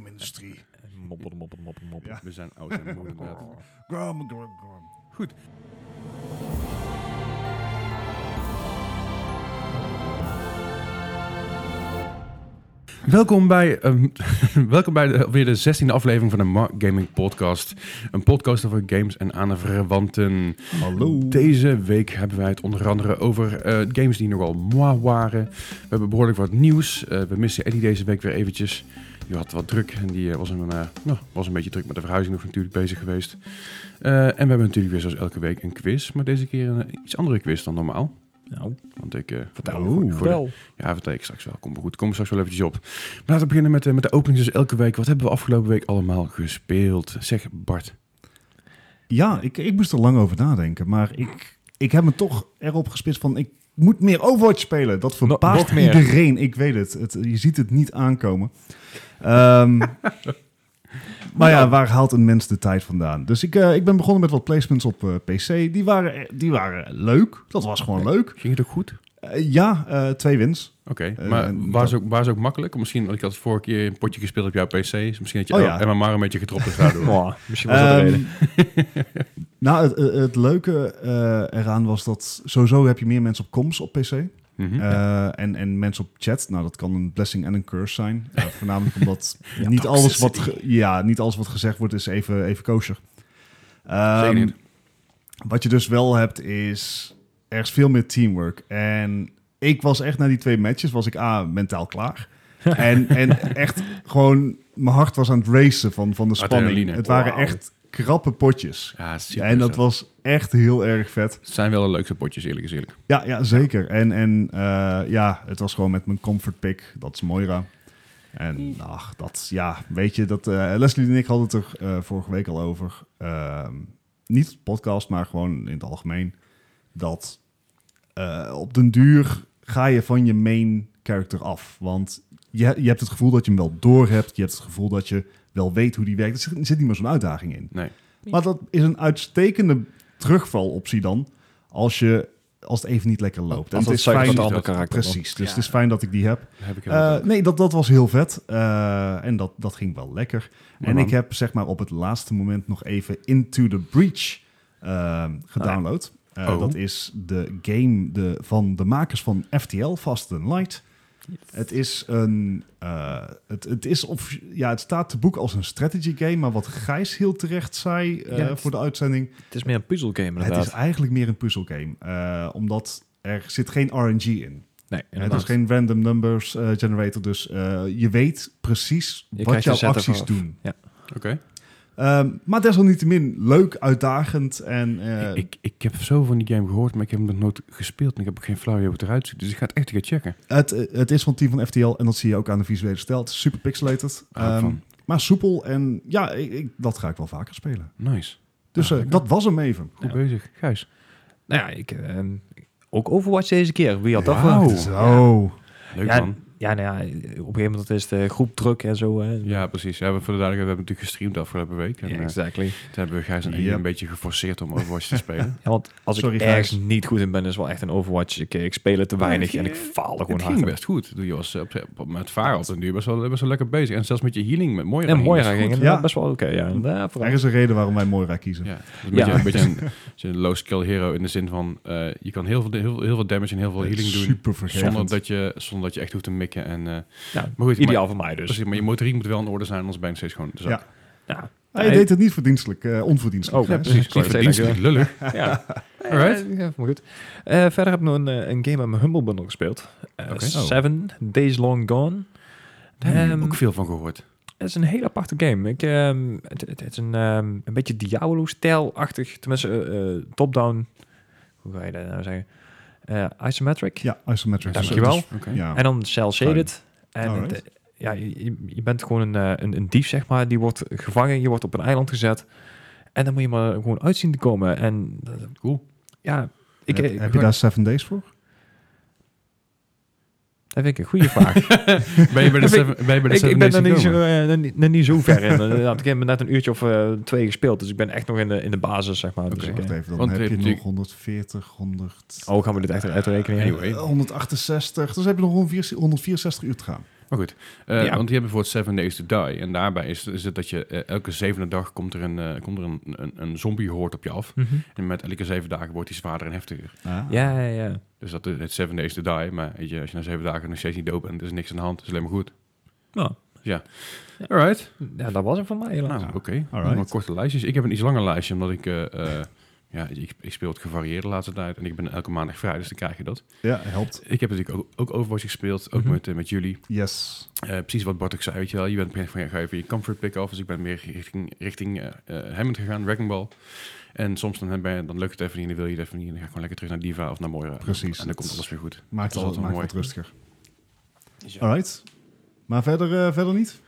game-industrie. Moppen, moppen, moppen, moppen. Ja. We zijn oud en moe inderdaad. Grom, grom, grom. Goed. Welkom bij, ehm, welkom bij de, weer de 16e aflevering van de Mark Gaming Podcast. Een podcast over games en aan de verwanten. Hallo. Deze week hebben wij het onder andere over eh, games die nogal moi waren. We hebben behoorlijk wat nieuws. Eh, we missen Eddie deze week weer eventjes. Die had wat druk en die eh, was, een, eh, nou, was een beetje druk met de verhuizing nog natuurlijk bezig geweest. Eh, en we hebben natuurlijk weer zoals elke week een quiz. Maar deze keer een eh, iets andere quiz dan normaal. Nou, Want ik eh, vertel Oh, voor- voor de- wel. ja, vertel ik straks wel. Kom maar goed. Kom er straks wel eventjes op. Maar laten we beginnen met, eh, met de opening dus elke week. Wat hebben we afgelopen week allemaal gespeeld? Zeg Bart. Ja, ik, ik moest er lang over nadenken, maar ik, ik heb me toch erop gespitst van ik moet meer Overwatch spelen. Dat verbaast nog meer. iedereen, ik weet het. het. Je ziet het niet aankomen. Ehm, maar ja, waar haalt een mens de tijd vandaan? Dus ik, eh, ik ben begonnen met wat placements op eh, PC. Die waren, die waren leuk. Dat was gewoon leuk. Ging het ook goed? Eh, ja, eh, twee wins. Oké, Eh, maar en waar is, dat- ook, waar is ook makkelijk? Misschien, want ik had vorige keer een potje gespeeld op jouw PC. Dus misschien dat je Oh oh, ja. MMR een beetje getropt is daardoor. Mwah, Nou, misschien was dat de Ehm, reden. nou, het, het- het leuke eh, eraan was dat sowieso heb je meer mensen op comms op PC. Hm? Mhm. Eh, en, en mensen op chat, nou dat kan een blessing en een curse zijn. Eh, voornamelijk omdat Ja, niet, alles wat toxicity. ge- ja, niet alles wat gezegd wordt is even, even kosher. Ehm, Zeker niet. wat je dus wel hebt is, er is veel meer teamwork. En ik was echt na die twee matches, was ik A, mentaal klaar. en, en echt gewoon, mijn hart was aan het racen van, van de spanning. Adrenaline. Het waren Wauw. echt krappe potjes. Ja, super. en dat zo. was echt heel erg vet. Het zijn wel de leukste potjes, eerlijk is eerlijk. Ja, ja zeker. En, en eh, ja, het was gewoon met mijn comfort pick. Dat is Moira. En ach, dat, ja, weet je, dat, eh, Leslie en ik hadden het er eh, vorige week al over. Ehm, niet podcast, maar gewoon in het algemeen. Dat eh, op den duur ga je van je main character af. Want je, je hebt het gevoel dat je hem wel door hebt. Je hebt het gevoel dat je wel weet hoe die werkt. Er zit, er zit niet meer zo'n uitdaging in. Nee. Maar dat is een uitstekende terugvaloptie dan. Als, je, als het even niet lekker loopt. En Als het dat is zei fijn dat dat- andere karakter was. Precies, dus Ja. het is fijn dat ik die heb. Dat heb ik heel Eh, leuk. nee, dat, dat was heel vet. Eh, en dat, dat ging wel lekker. Maar en dan- ik heb zeg maar op het laatste moment nog even Into the Breach eh, gedownload. Eh, Oh. Dat is de game de, van de makers van FTL, Fast and Light. Het is een. eh, het, het, is of, ja, het staat te boek als een strategy game, maar wat Gijs heel terecht zei eh, Ja, het- voor de uitzending. Het is meer een puzzelgame inderdaad. Het is eigenlijk meer een puzzelgame, eh, omdat er zit geen RNG in. nee, Ja, Het inderdaad. is dus geen random numbers eh, generator, dus eh, je weet precies wat krijgt jouw een set acties ervan. doen. Eh, Oké. Ehm, maar desalniettemin leuk, uitdagend en eh, ik, ik heb zo van die game gehoord, maar ik heb hem nog nooit gespeeld. En ik heb ook geen flauw idee hoe het eruit ziet. Dus ik ga het echt een keer checken. het, het is van het team van FTL en dat zie je ook aan de visuele stijl. Het is super pixelated, Hou ik ehm, van. maar soepel en ja, ik, ik- dat ga ik wel vaker spelen. Nice. Dus Ja, eh, lekker. dat was hem even. Goed Ja. bezig. Gijs. Nou ja, ik, ehm, ook Overwatch deze keer. Wie had dat Wauw. verwacht? Zo. Leuk Ja, man. Ja, nou ja, op een gegeven moment is de groep druk en zo. Hè. Ja, precies. Ja, we, voor de duidelijkheid, we hebben natuurlijk gestreamd de afgelopen week. En, Ja, eh, exactly. toen hebben we Gijs en Eddie Yep. een beetje geforceerd om Overwatch te spelen. Ja, want als Sorry, ik ergens Gijs. niet goed in ben, is wel echt een Overwatch. Ik, eh, ik speel het te weinig het en ik ging- faal er gewoon Het ging hard. best goed. Je was eh, op, op- met varen op den duur best wel, best wel lekker bezig. En zelfs met je healing met Moira. En Moira best ging goed. inderdaad Ja. best wel oké. ja, inderdaad, Er vooral. is een reden waarom wij Moira kiezen. Ja, dus een, beetje, Ja. een beetje een, beetje een low-skill hero in de zin van... eh, je kan heel veel, heel, veel- heel veel damage en heel veel healing doen... Super vergevend. Zonder dat, je, zonder dat je echt hoeft te mikken. En, eh, Nou, maar goed, ideaal maar, voor mij dus. precies, maar je motoriek moet wel in orde zijn, anders ben je nog steeds gewoon de zak. Ja. Ja, Hij deed het niet verdienstelijk, eh, onverdienstelijk. Oh, Gijs. Ja, precies. Ik wou Die zeggen, verdienst niet lullig. Ja. Alright. Eh, ja, maar goed. Eh, verder heb ik nog een, eh, een game uit mijn Humble Bundle gespeeld. Eh, Oké. Seven Days Long Gone. Daar heb ik Ehm, ook veel van gehoord. Het is een hele aparte game. Ik, ehm, het, het- het is een, ehm, een beetje Diablo-stijl-achtig. Tenminste, eh, eh, top-down. Hoe ga je dat nou zeggen? Eh, isometric. Ja, isometric. Ja, dankjewel. Dus- Oké. Ja. En dan cel-shaded. En Alright. het, eh, ja, je, je- je bent gewoon een, eh, een, een dief, zeg maar. Die wordt gevangen, je wordt op een eiland gezet. En dan moet je maar gewoon uitzien te komen. En eh, Cool. ja, ik, heb eh, heb je gewoon- daar Seven Days voor? dat vind ik een goede vraag. Ben je bij de Ik- seven, ben je bij de ik, seven ik ben days er niet zo, gekomen? eh, nog niet- nog niet zo ver in. Inderdaad, ik heb me net een uurtje of eh, twee gespeeld. Dus ik ben echt nog in de, in de basis, zeg maar. Dus Oké. ik, Wacht eh, even, dan Want heb het je heeft nog natuurlijk- 140, 100, oh, gaan we dit echt uitrekenen? Anyway. eh, 168. Dus heb je nog 164 uur te gaan. Maar goed, Ja. eh, want die hebben bijvoorbeeld Seven Days to Die. En daarbij is, is het dat je eh, elke zevende dag komt er een, eh, komt er een, een, een zombie hoort op je af. En met elke zeven dagen wordt die zwaarder en heftiger. Ah. Ja, ja, ja. Dus dat is het Seven Days to Die. Maar weet je, als je na zeven dagen nog steeds niet dood bent, is er niks aan de hand. is alleen maar goed. Nou, Alright. ja, dat was het voor mij helaas. Nou, oké. Alright. Allemaal korte lijstjes. Ik heb een iets langer lijstje, omdat ik... eh, eh, ja, ik, ik speel het gevarieerd de laatste tijd. En ik ben elke maandag vrij, dus dan krijg je dat. Ja, helpt. Ik heb natuurlijk ook, ook Overwatch gespeeld, ook Mhm. met, eh, met jullie. Yes. Eh, precies wat Bart ook zei, weet je wel. Je bent op een gegeven moment, ga je van je comfort pick af. Dus ik ben meer richting, richting eh eh, Hammond gegaan, Dragon Ball. En soms dan, ben je, dan lukt het even niet en dan wil je het even niet. En dan ga ik gewoon lekker terug naar Diva of naar Moira. Precies. En dan komt alles weer goed. Maakt Dat het, is altijd maakt mooi. het rustiger. Ja. Alright. Maar verder, eh, verder niet?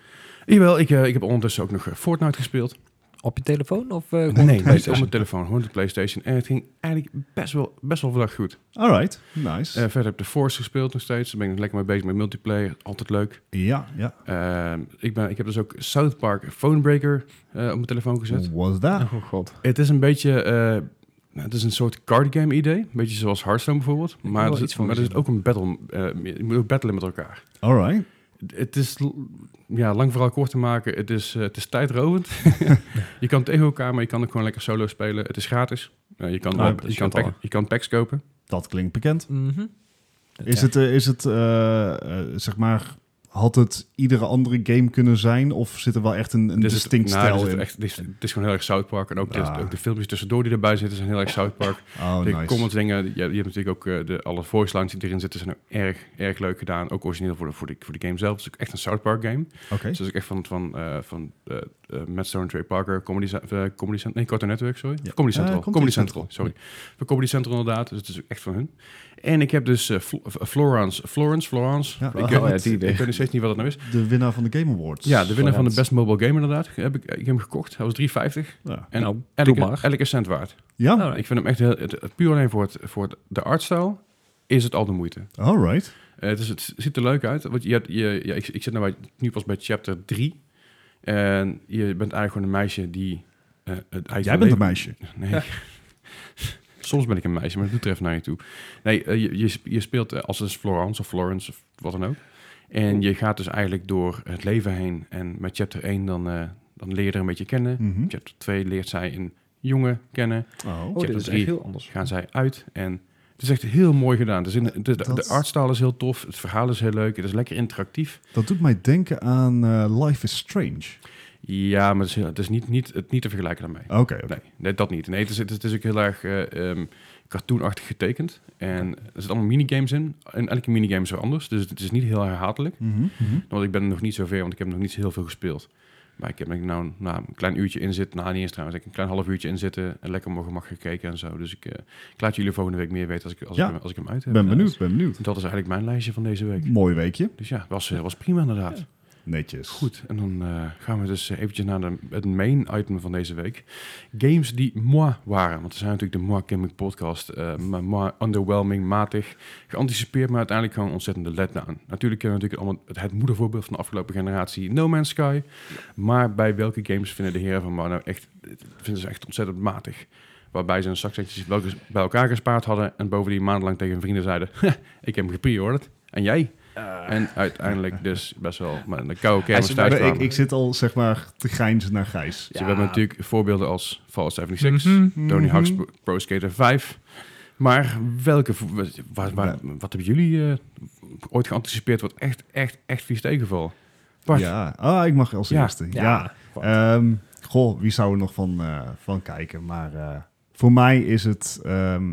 Jawel, ik, eh, ik heb ondertussen ook nog eh, Fortnite gespeeld. Op je telefoon of... eh, gewoon Gewoon op op de de PlayStation. Op mijn telefoon, gewoon op de Playstation. En het ging eigenlijk best wel, best wel vandaag goed. Alright. Nice. Eh, verder heb ik de Force gespeeld nog steeds. Daar ben ik nog lekker mee bezig met multiplayer. Altijd leuk. ja, ja. Ehm, ik, ben, ik heb dus ook South Park Phonebreaker eh, op mijn telefoon gezet. Was that? Oh god. Het is een beetje... eh, nou, het is een soort card game idee. Een beetje zoals Hearthstone bijvoorbeeld. heb Maar wel er zit, iets van maar er zit gezien. ook een battle... eh, je moet ook battlen met elkaar. Alright. Het is... l- Ja, lang vooral kort te maken. Het is, eh, het is tijdrovend. je kan tegen elkaar, maar je kan ook gewoon lekker solo spelen. Het is gratis. Eh, je, kan, Ah, eh, dat je, is kan wat pack- al. je kan packs kopen. Dat klinkt bekend. Mhm. Is Ja. het, eh, is het eh, eh, zeg maar, had het iedere andere game kunnen zijn? Of zit er wel echt een, een Dit is- distinct nou, dit stijl is in? echt- dit is- Het is gewoon heel erg South Park. En ook, de- Ah. ook de filmpjes tussendoor die erbij zitten zijn heel erg South Park. Oh, de nice. comments dingen, je, je hebt natuurlijk ook eh, de, alle voice lines die erin zitten zijn ook erg, erg leuk gedaan. Ook origineel voor de, voor de, voor de game zelf. Het is ook echt een South Park game. Oké. Dus dat is ook echt van, van, eh, van eh eh, Matt Stone, Trey Parker, Comedy, Cen- eh, Comedy Central, nee, Cartoon Network, sorry. Ja. Comedy Eh, Central, Comedy Comedy Central. Central, sorry. Van Comedy Central inderdaad, dus het is ook echt van hun. En ik heb dus eh, Flo- eh, Florence, Florence, Florence, Ja. ik, Oh, weet ja, niet- die weer. ik weet nog steeds niet wat dat nou is. De winnaar van de Game Awards. Ja, de winnaar van de Florence. Best Mobile Game inderdaad, heb ik, ik heb hem gekocht. Hij was 3,50 Ja? en nou, doe elke, maar. elke cent waard. Ja? Nou, Ik vind hem echt heel, het- het- puur alleen voor, het, voor het- de artstyle is het al de moeite. Alright. Eh, het, is, het ziet er leuk uit. Want je hebt, je, ja, ik, ik zit nou bij, nu pas bij chapter 3. En je bent eigenlijk gewoon een meisje die... eh, het eigen Jij bent leven- een meisje. Nee. Ja. Soms ben ik een meisje, maar dat doet er even naar je toe. Nee, eh, je, je, sp- je speelt eh, als het is Florence of Florence of wat dan ook. En je gaat dus eigenlijk door het leven heen. En met chapter 1 dan, eh, dan leer je er een beetje kennen. Mhm. Chapter 2 leert zij een jongen kennen. Oh. Oh, dit chapter is echt drie. heel anders. gaan zij uit. En het is echt heel mooi gedaan. Dus in, de, de, Dat- de artstyle is heel tof, het verhaal is heel leuk, het is lekker interactief. Dat doet mij denken aan eh, Life is Strange. Ja, maar het is, heel- het is niet, niet, het niet te vergelijken daarmee. Oké, oké. Nee, nee, dat niet. Nee, het is, het is, het is ook heel erg eh, ehm, cartoonachtig getekend. En er zitten allemaal minigames in. En elke minigame is weer anders, dus het is niet heel herhaaldelijk. Mhm, mhm. Want ik ben er nog niet zo ver, want ik heb nog niet zo heel veel gespeeld. Maar ik heb denk ik nou na een klein uurtje in zitten. Nou, niet eens trouwens. Ik heb een klein half uurtje in zitten. En lekker op mijn gemak gekeken en zo. Dus ik, eh, ik laat jullie volgende week meer weten als ik, als Ja. ik, hem- als ik hem uit heb. Ben Ja, benieuwd, ben benieuwd. Dat is eigenlijk mijn lijstje van deze week. Mooi weekje. Dus ja, was, eh, was prima inderdaad. Netjes. Goed, en dan eh, gaan we dus eh, eventjes naar de, het main item van deze week. Games die moi waren. Want er zijn natuurlijk de moi gaming podcast. eh, maar moi underwhelming, matig. Geanticipeerd, maar uiteindelijk gewoon een ontzettende letdown. Natuurlijk kennen we natuurlijk allemaal het, het moedervoorbeeld van de afgelopen generatie No Man's Sky. Maar bij welke games vinden de heren van moi nou echt, vinden ze echt ontzettend matig? Waarbij ze een zakcentjes wel- bij elkaar gespaard hadden. En bovendien maandenlang tegen hun vrienden zeiden... ik heb hem gepreorderd. En jij? En uiteindelijk dus best wel met een koude kermis zit- thuis Maar kwamen. ik, ik zit al zeg maar te grijnzen naar Gijs. Dus we hebben natuurlijk voorbeelden als Fallout 76, Mhm. Tony Hawk's Mhm. Pro- Pro Skater 5. Maar welke, vo- wa- wa- wa- wat hebben jullie eh, ooit geanticipeerd wat echt, echt, echt vies tegenval? Bart, Ja, ah, ik mag als Ja. eerste. Ja. Wat? Ehm, goh, wie zou er nog van, eh, van kijken? Maar eh, voor mij is het... ehm,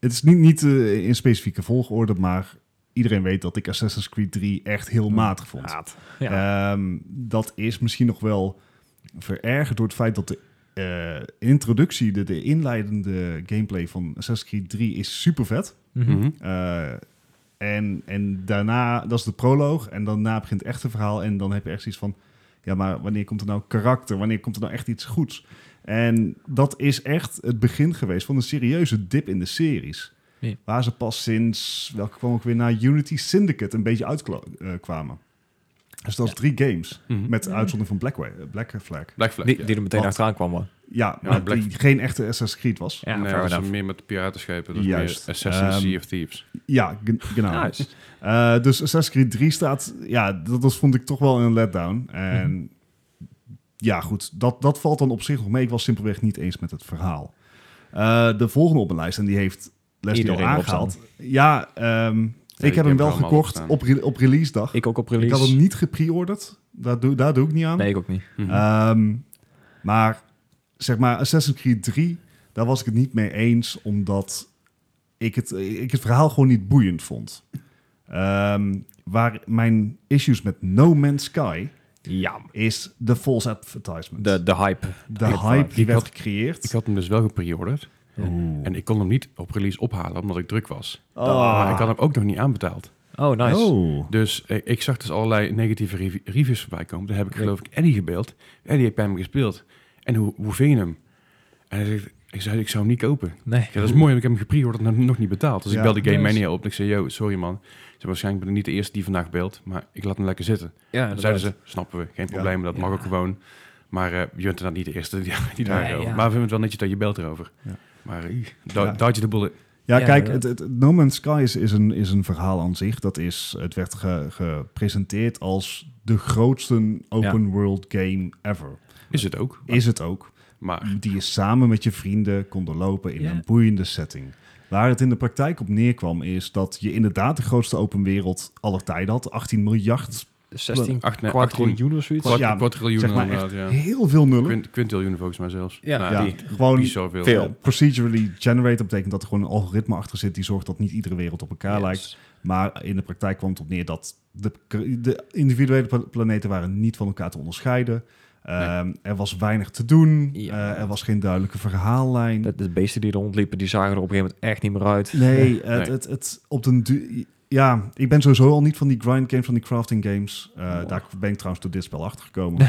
het is niet, niet eh, in specifieke volgorde, maar iedereen weet dat ik Assassin's Creed 3 echt heel matig vond. Haat. Ja. Ehm, dat is misschien nog wel verergerd door het feit dat de eh, introductie, de, de inleidende gameplay van Assassin's Creed 3 is super vet. Mhm. Mhm. Eh, en, en daarna, dat is de proloog. En daarna begint het echte verhaal. En dan heb je echt zoiets van... Ja, maar wanneer komt er nou karakter? Wanneer komt er nou echt iets goeds? En dat is echt het begin geweest van een serieuze dip in de series. Ja. Waar ze pas sinds, welke kwam ook weer na Unity Syndicate een beetje uitkwamen. dus dat is drie games. Mhm. Met uitzondering van Black, Wa- Black Flag. Black Flag, Die, ja. die er meteen Wat? achteraan kwam, man. Ja, Ja, maar Black- die geen echte Assassin's Creed was. Ja, nee, fair dat is enough. meer met piratenschepen. Dat is Juist. meer Assassin's Ehm, Sea of Thieves. Ja, gen- genau. Nice. Eh, dus Assassin's Creed 3 staat... Ja, dat, dat vond ik toch wel een letdown. En Mhm. ja, goed. Dat, dat valt dan op zich nog mee. Ik was simpelweg niet eens met het verhaal. Eh, de volgende op mijn lijst, en die heeft Leslie al Iedereen erop aangehaald. Ja, ehm, ik heb hem ik heb wel hem allemaal gekocht opstaan. op, re- op release dag. Ik, Ik ook op had hem release. niet gepreorderd. Daar doe, daar doe ik niet aan. Nee, ik ook niet. Mhm. Ehm, maar zeg maar, Assassin's Creed 3, daar was ik het niet mee eens, omdat ik het, ik het verhaal gewoon niet boeiend vond. Ehm, waar mijn issues met No Man's Sky Ja. is de false advertisement. De, de hype. De hype. hype die Ik werd had- gecreëerd. ik had hem dus wel gepreorderd. Oh. Oeh. En ik kon hem niet op release ophalen, omdat ik druk was. Ah. Maar ik had hem ook nog niet aanbetaald. Oh, nice. Oh. Dus eh, ik zag dus allerlei negatieve rev- reviews voorbij komen. Daar heb ik geloof ik Eddie gebeld. Eddie heeft bij me gespeeld. En hoe, hoe vind je hem? En hij zegt, ik zei, ik zou hem niet kopen. Nee. Ik zei, dat is mooi, want ik heb hem gepreorderd en nog niet betaald. Dus Ja, ik belde Game nice. Mania op en ik zei, yo, sorry man. Ik zei, waarschijnlijk ben ik niet de eerste die vandaag belt, maar ik laat hem lekker zitten. Ja, En dat zeiden ze, snappen we, geen Ja. probleem, dat mag Ja. ook gewoon. Maar eh, je bent inderdaad niet de eerste die, Nee, die daarover. ja. Maar we vinden het wel netjes dat je belt erover. Ja. Maar eh, dodge Ja. dodge the bullet. Ja, Ja, kijk, het, inderdaad. het- No Man's Sky is, is, een, is een verhaal aan zich. Dat is, het werd ge- gepresenteerd als de grootste open world game ever. Is het ook. Is het ook. Maar die je samen met je vrienden kon doorlopen in Ja. een boeiende setting. Waar het in de praktijk op neerkwam is dat je inderdaad de grootste open wereld aller tijden had. 18 miljard, 16 acht- nee, kwartriljoen of zoiets. kwart, ja, kwartriljoen zeg maar inderdaad, echt ja. heel veel nullen. Quint, quintiljoen volgens mij zelfs. Hm? Ja. Nou, ja, die- gewoon die zoveel. eh, procedurally generated betekent dat er gewoon een algoritme achter zit die zorgt dat niet iedere wereld op elkaar Yes. lijkt. Maar in de praktijk kwam het op neer dat de, de individuele pla- planeten waren niet van elkaar te onderscheiden. Ehm, Er was weinig te doen. Ja. Eh, er was geen duidelijke verhaallijn. De, de beesten die er rondliepen, die zagen er op een gegeven moment echt niet meer uit. Nee, het, Nee. Het, het, op den du- Ja, ik ben sowieso al niet van die grind games, van die crafting games. Eh, Oh. Daar ben ik trouwens door dit spel achtergekomen.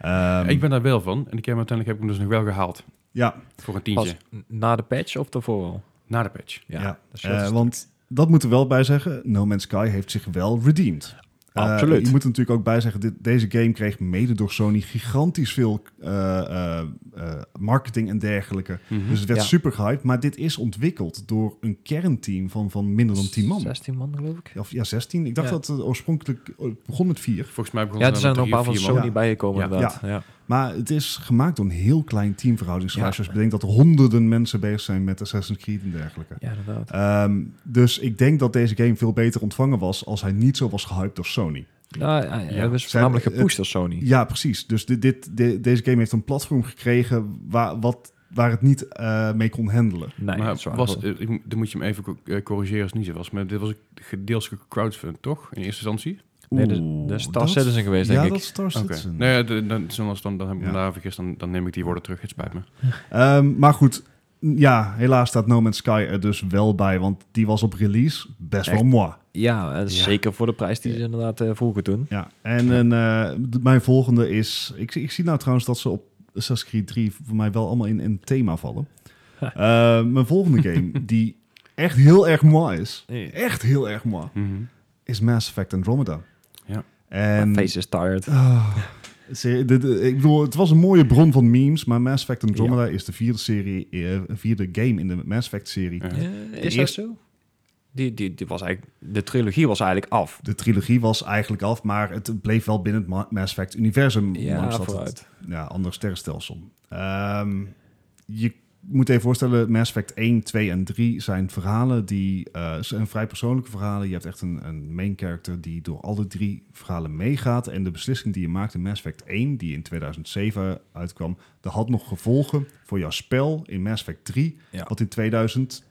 Ehm Ik ben daar wel van. En ik heb hem uiteindelijk heb ik hem dus nog wel gehaald. Ja, Voor een tientje. Pas na de patch of daarvoor al? Na de patch. ja. dat is Eh, wel te- want dat moet er wel bij zeggen. No Man's Sky heeft zich wel redeemed. Eh, Absoluut. je moet er natuurlijk ook bij zeggen, dit, deze game kreeg mede door Sony gigantisch veel eh, eh, eh, marketing en dergelijke. Dus het werd Mhm. Ja. super gehyped, maar dit is ontwikkeld door een kernteam van, van minder dan 10 man. 16 man, geloof ik. Of ja, 16. Ik dacht Ja. dat het oorspronkelijk oh, het begon met 4. Volgens mij begon Ja, het er dan zijn er nog een met paar van drie of man. Sony Ja. bijgekomen, Ja. inderdaad. Ja. Maar het is gemaakt door een heel klein team verhoudingsgewijs. Ja. Als je bedenkt dat honderden mensen bezig zijn met Assassin's Creed en dergelijke. Ja, inderdaad. Ehm, dus ik denk dat deze game veel beter ontvangen was als hij niet zo was gehyped door Sony. Nou, ja, Ja. ja, dat is Zijn- voornamelijk het- gepusht door Sony. Ja, precies. Dus dit, dit, de- deze game heeft een platform gekregen waar, wat, waar het niet eh, mee kon handelen. Nee, Maar dat is waar. was, eh, ik moet- dan moet je hem even co- eh, corrigeren als het niet zo was. Maar dit was deels gecrowdfund, toch? In eerste instantie? Nee, dat- dat is Star Citizen geweest, denk ja, ik. dat is Star Citizen. Nee, Nou ja, de- dan, zoals dan, dan heb ik me Ja. daar vergist. Dan, dan neem ik die woorden terug. Het spijt me. Ehm, maar goed, ja, helaas staat No Man's Sky er dus wel bij. Want die was op release best wel Echt? mooi. Ja, eh, Ja. zeker voor de prijs die ze inderdaad eh, vroeger toen. Ja, en, een, eh, d- mijn volgende is... Ik, zie- ik zie nou trouwens dat ze op Assassin's Creed 3 voor mij wel allemaal in een thema vallen. Eh, mijn volgende game, die echt heel erg mooi is... Echt heel erg mooi, Mhm. is Mass Effect Andromeda. Ja. En... Face is tired. Ah, serie- dit- eh, ik bedoel, het was een mooie bron van memes, maar Mass Effect Andromeda is de vierde serie, eh, vierde game in de Mass Effect serie. Ja. is dat eerste- zo? Die, die, die was eigenlijk, de trilogie was eigenlijk af. De trilogie was eigenlijk af, maar het bleef wel binnen het Ma- Mass Effect universum. Ja, ondanks dat het- vooruit. ja, ander sterrenstelsel. Ehm, je moet even voorstellen, Mass Effect 1, 2 en 3 zijn verhalen die eh, zijn vrij persoonlijke verhalen. Je hebt echt een, een main character die door alle drie verhalen meegaat. En de beslissing die je maakt in Mass Effect 1, die in 2007 uitkwam, dat had nog gevolgen voor jouw spel in Mass Effect 3, Ja. wat in 2014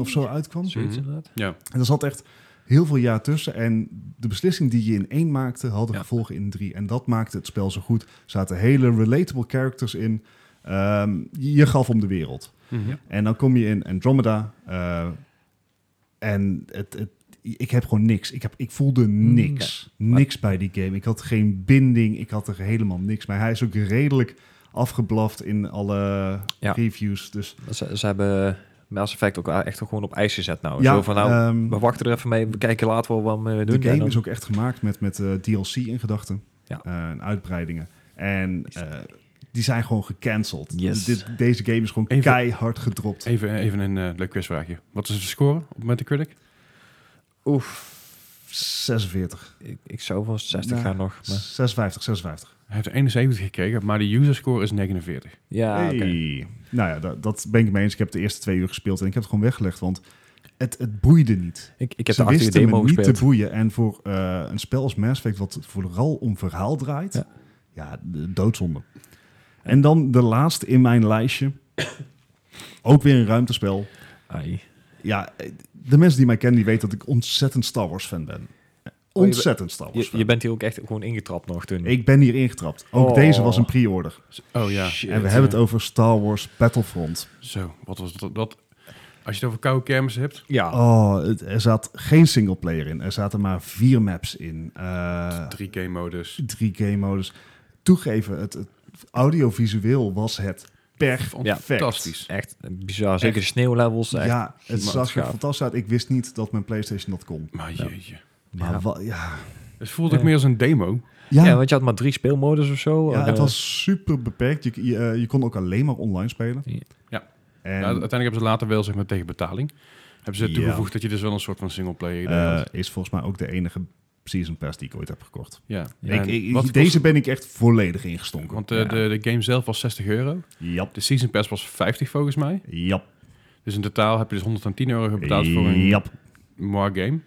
of zo uitkwam. Zoiets Mhm. inderdaad. Ja. En er zat echt heel veel jaar tussen. En de beslissing die je in één maakte, hadden Ja. gevolgen in drie. En dat maakte het spel zo goed. Er zaten hele relatable characters in. Ehm, je je gaf om de wereld. Mhm. En dan kom je in Andromeda. eh, en het, het, ik heb gewoon niks. Ik, heb, ik voelde niks. maar- niks bij die game. Ik had geen binding. Ik had er helemaal niks mee. Hij is ook redelijk afgeblaft in alle Ja. reviews. Dus Ze, ze hebben Mass Effect ook echt gewoon op ijs gezet nou. ja, zo van, nou ehm, we wachten er even mee, we kijken later wel wat we doen. De game En dan- is ook echt gemaakt met, met eh, DLC in gedachten Ja. Eh, en uitbreidingen. En eh, die zijn gewoon gecanceld. Yes. Dit, deze game is gewoon Even- keihard gedropt. Even, even een eh, leuk quizvraagje. Wat is de score op Metacritic? Oef. 46. Ik, ik zou voor 60 Nou, gaan nog. Maar, 56, 56. Hij heeft 71 gekregen, maar de user score is 49. ja, hey. Ah, oké. Nou ja, dat, dat ben ik mee eens. Ik heb de eerste twee uur gespeeld en ik heb het gewoon weggelegd, want het, het boeide niet. ik, ik heb Ze de 18 wisten demo me niet gespeeld. te boeien. En voor eh, een spel als Mass Effect, wat vooral om verhaal draait, Ja. ja, de doodzonde. En dan de laatste in mijn lijstje. Ook weer een ruimtespel. Ai. Ja, eh, de mensen die mij kennen, die weten dat ik ontzettend Star Wars fan ben. Ontzettend Star Wars Oh, Je, fan. je bent hier ook echt gewoon ingetrapt nog toen. Ik ben hier ingetrapt. Ook Oh. deze was een pre-order. Oh ja. En we hebben het over Star Wars Battlefront. Zo, wat was dat? dat- als je het over koude kermis hebt. ja, Oh, het- er zat geen singleplayer in. Er zaten maar vier maps in. Eh, Drie game modus. drie game modus. Toegeven, het, het audiovisueel was het perfect. Fantastisch. echt bizar. Zeker de sneeuwlevels. Echt. Ja, het Maar zag gaaf. er fantastisch uit. Ik wist niet dat mijn PlayStation dat kon. Maar jeetje. Maar Ja. wa- ja. Het voelde ook Ja. meer als een demo. Ja, Ja, ja, want je had maar drie speelmodus of zo. En, het eh, was super beperkt. Je, je, eh, je kon ook alleen maar online spelen. Ja. En, Ja, uiteindelijk hebben ze later wel zeg maar tegen betaling. Hebben ze Ja. toegevoegd dat je dus wel een soort van singleplayer idee eh, had. is volgens mij ook de enige season pass die ik ooit heb gekocht. Ja. Ja, Ik, En ik- wat deze kost- ben ik echt volledig ingestonken. Want eh, Ja. de, de game zelf was 60 euro. Jap, De season pass was 50 volgens mij. jap, Dus in totaal heb je dus 110 euro betaald voor een jap. Moir game.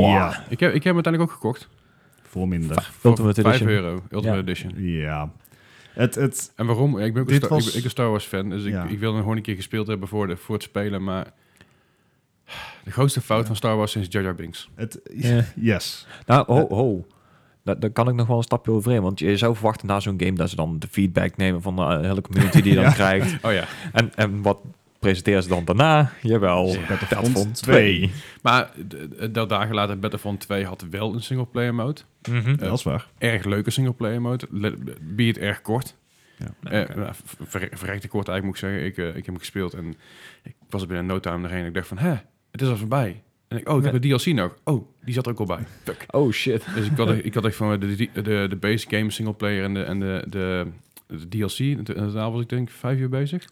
Ja, Ik heb, ik heb hem uiteindelijk ook gekocht. voor minder. Voor Ultimate 5 Edition. euro, Ultimate Ja. Edition. Ja. Het, het, En waarom? Ja, ik ben ook een, Dit Star, ik was- ben- ik ben Star Wars fan, dus Ja. ik, ik wil hem gewoon een keer gespeeld hebben voor, de, voor het spelen, maar de grootste fout van Star Wars sinds Jar Jar Binks. Het, Ja. Yes. Nou, ho, ho. Da- Daar kan ik nog wel een stapje overheen. Want je zou verwachten na zo'n game dat ze dan de feedback nemen van de eh, hele community die je dan Ja. krijgt. Oh ja, En, en wat presenteren ze dan daarna? Jawel, Ja, Battlefront Battlefront 2. maar d- d- dat dagen later Battlefront 2 had wel een singleplayer mode. Mhm. dat is waar. Erg leuke singleplayer mode, Le- be het erg kort. Ja. Eh, nou, ver- ver- verrekte kort eigenlijk moet ik zeggen. Ik, eh, ik heb hem gespeeld en ik was er binnen no time doorheen. Ik dacht van, hè, het is al voorbij. En ik, oh, ik heb de DLC nog. Oh, die zat er ook al bij. Fuck. Oh shit. Dus ik had, echt- ik had echt van de, de, de, de base game singleplayer en de, en de, de, de DLC. In totaal was ik denk ik vijf uur bezig.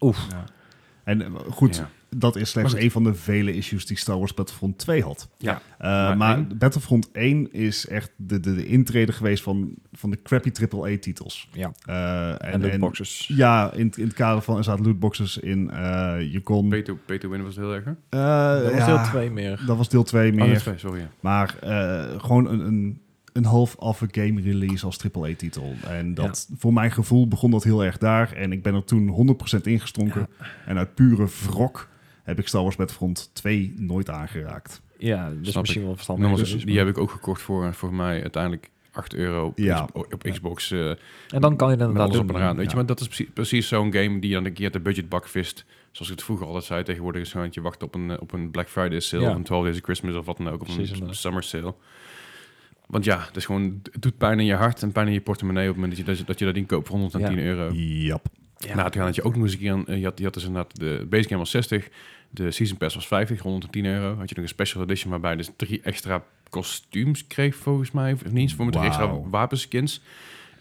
En eh, goed, Ja. dat is slechts Maar een van de vele issues die Star Wars Battlefront 2 had. Ja. Eh, Maar maar één- Battlefront 1 is echt de, de, de intrede geweest van, van de crappy AAA-titels. Ja. Eh, en, En, de en- boxes. Ja, in, het- in het kader van er zaten lootboxes in. eh je kon. Pay to, pay to win was het heel erg. hè? eh, Dat ja, was deel 2 meer. Dat was deel 2 Oh, meer. dat is twee, sorry. ja. Maar eh, gewoon een, een, een half affe game release als AAA-titel. En dat, voor mijn gevoel begon dat heel erg daar. En ik ben er toen 100% ingestonken. En uit pure wrok heb ik Star Wars Battlefront 2 nooit aangeraakt. Ja, dus Snap misschien ik. wel verstandig. Nogmaals, Dus- die heb ik ook gekocht voor, eh, voor mij uiteindelijk 8 euro op, Ja. X- op Xbox. eh, En dan kan je dat met inderdaad alles doen. op en eraan. Weet je, Ja. maar dat is precies, precies zo'n game die je dan een keer uit de budgetbak vist. Zoals ik het vroeger altijd zei, tegenwoordig is gewoon dat je wacht op een, eh, op een Black Friday sale, Ja. of een 12 Days of Christmas of wat dan ook, of Precies, een inderdaad. summer sale. Want ja, het, is gewoon, het doet pijn in je hart en pijn in je portemonnee op het moment dat je dat, dat, je dat inkoopt voor 110 Ja. euro. Dus, eh, Jap. Ja. Nou, toen had je ook nog eens een keer, een- eh, je, had, je had dus inderdaad, de base game was 60, de season pass was 50, 110 euro. Had je nog een special edition waarbij je dus drie extra kostuums kreeg volgens mij, of niet, voor met drie extra Wauw. wapenskins.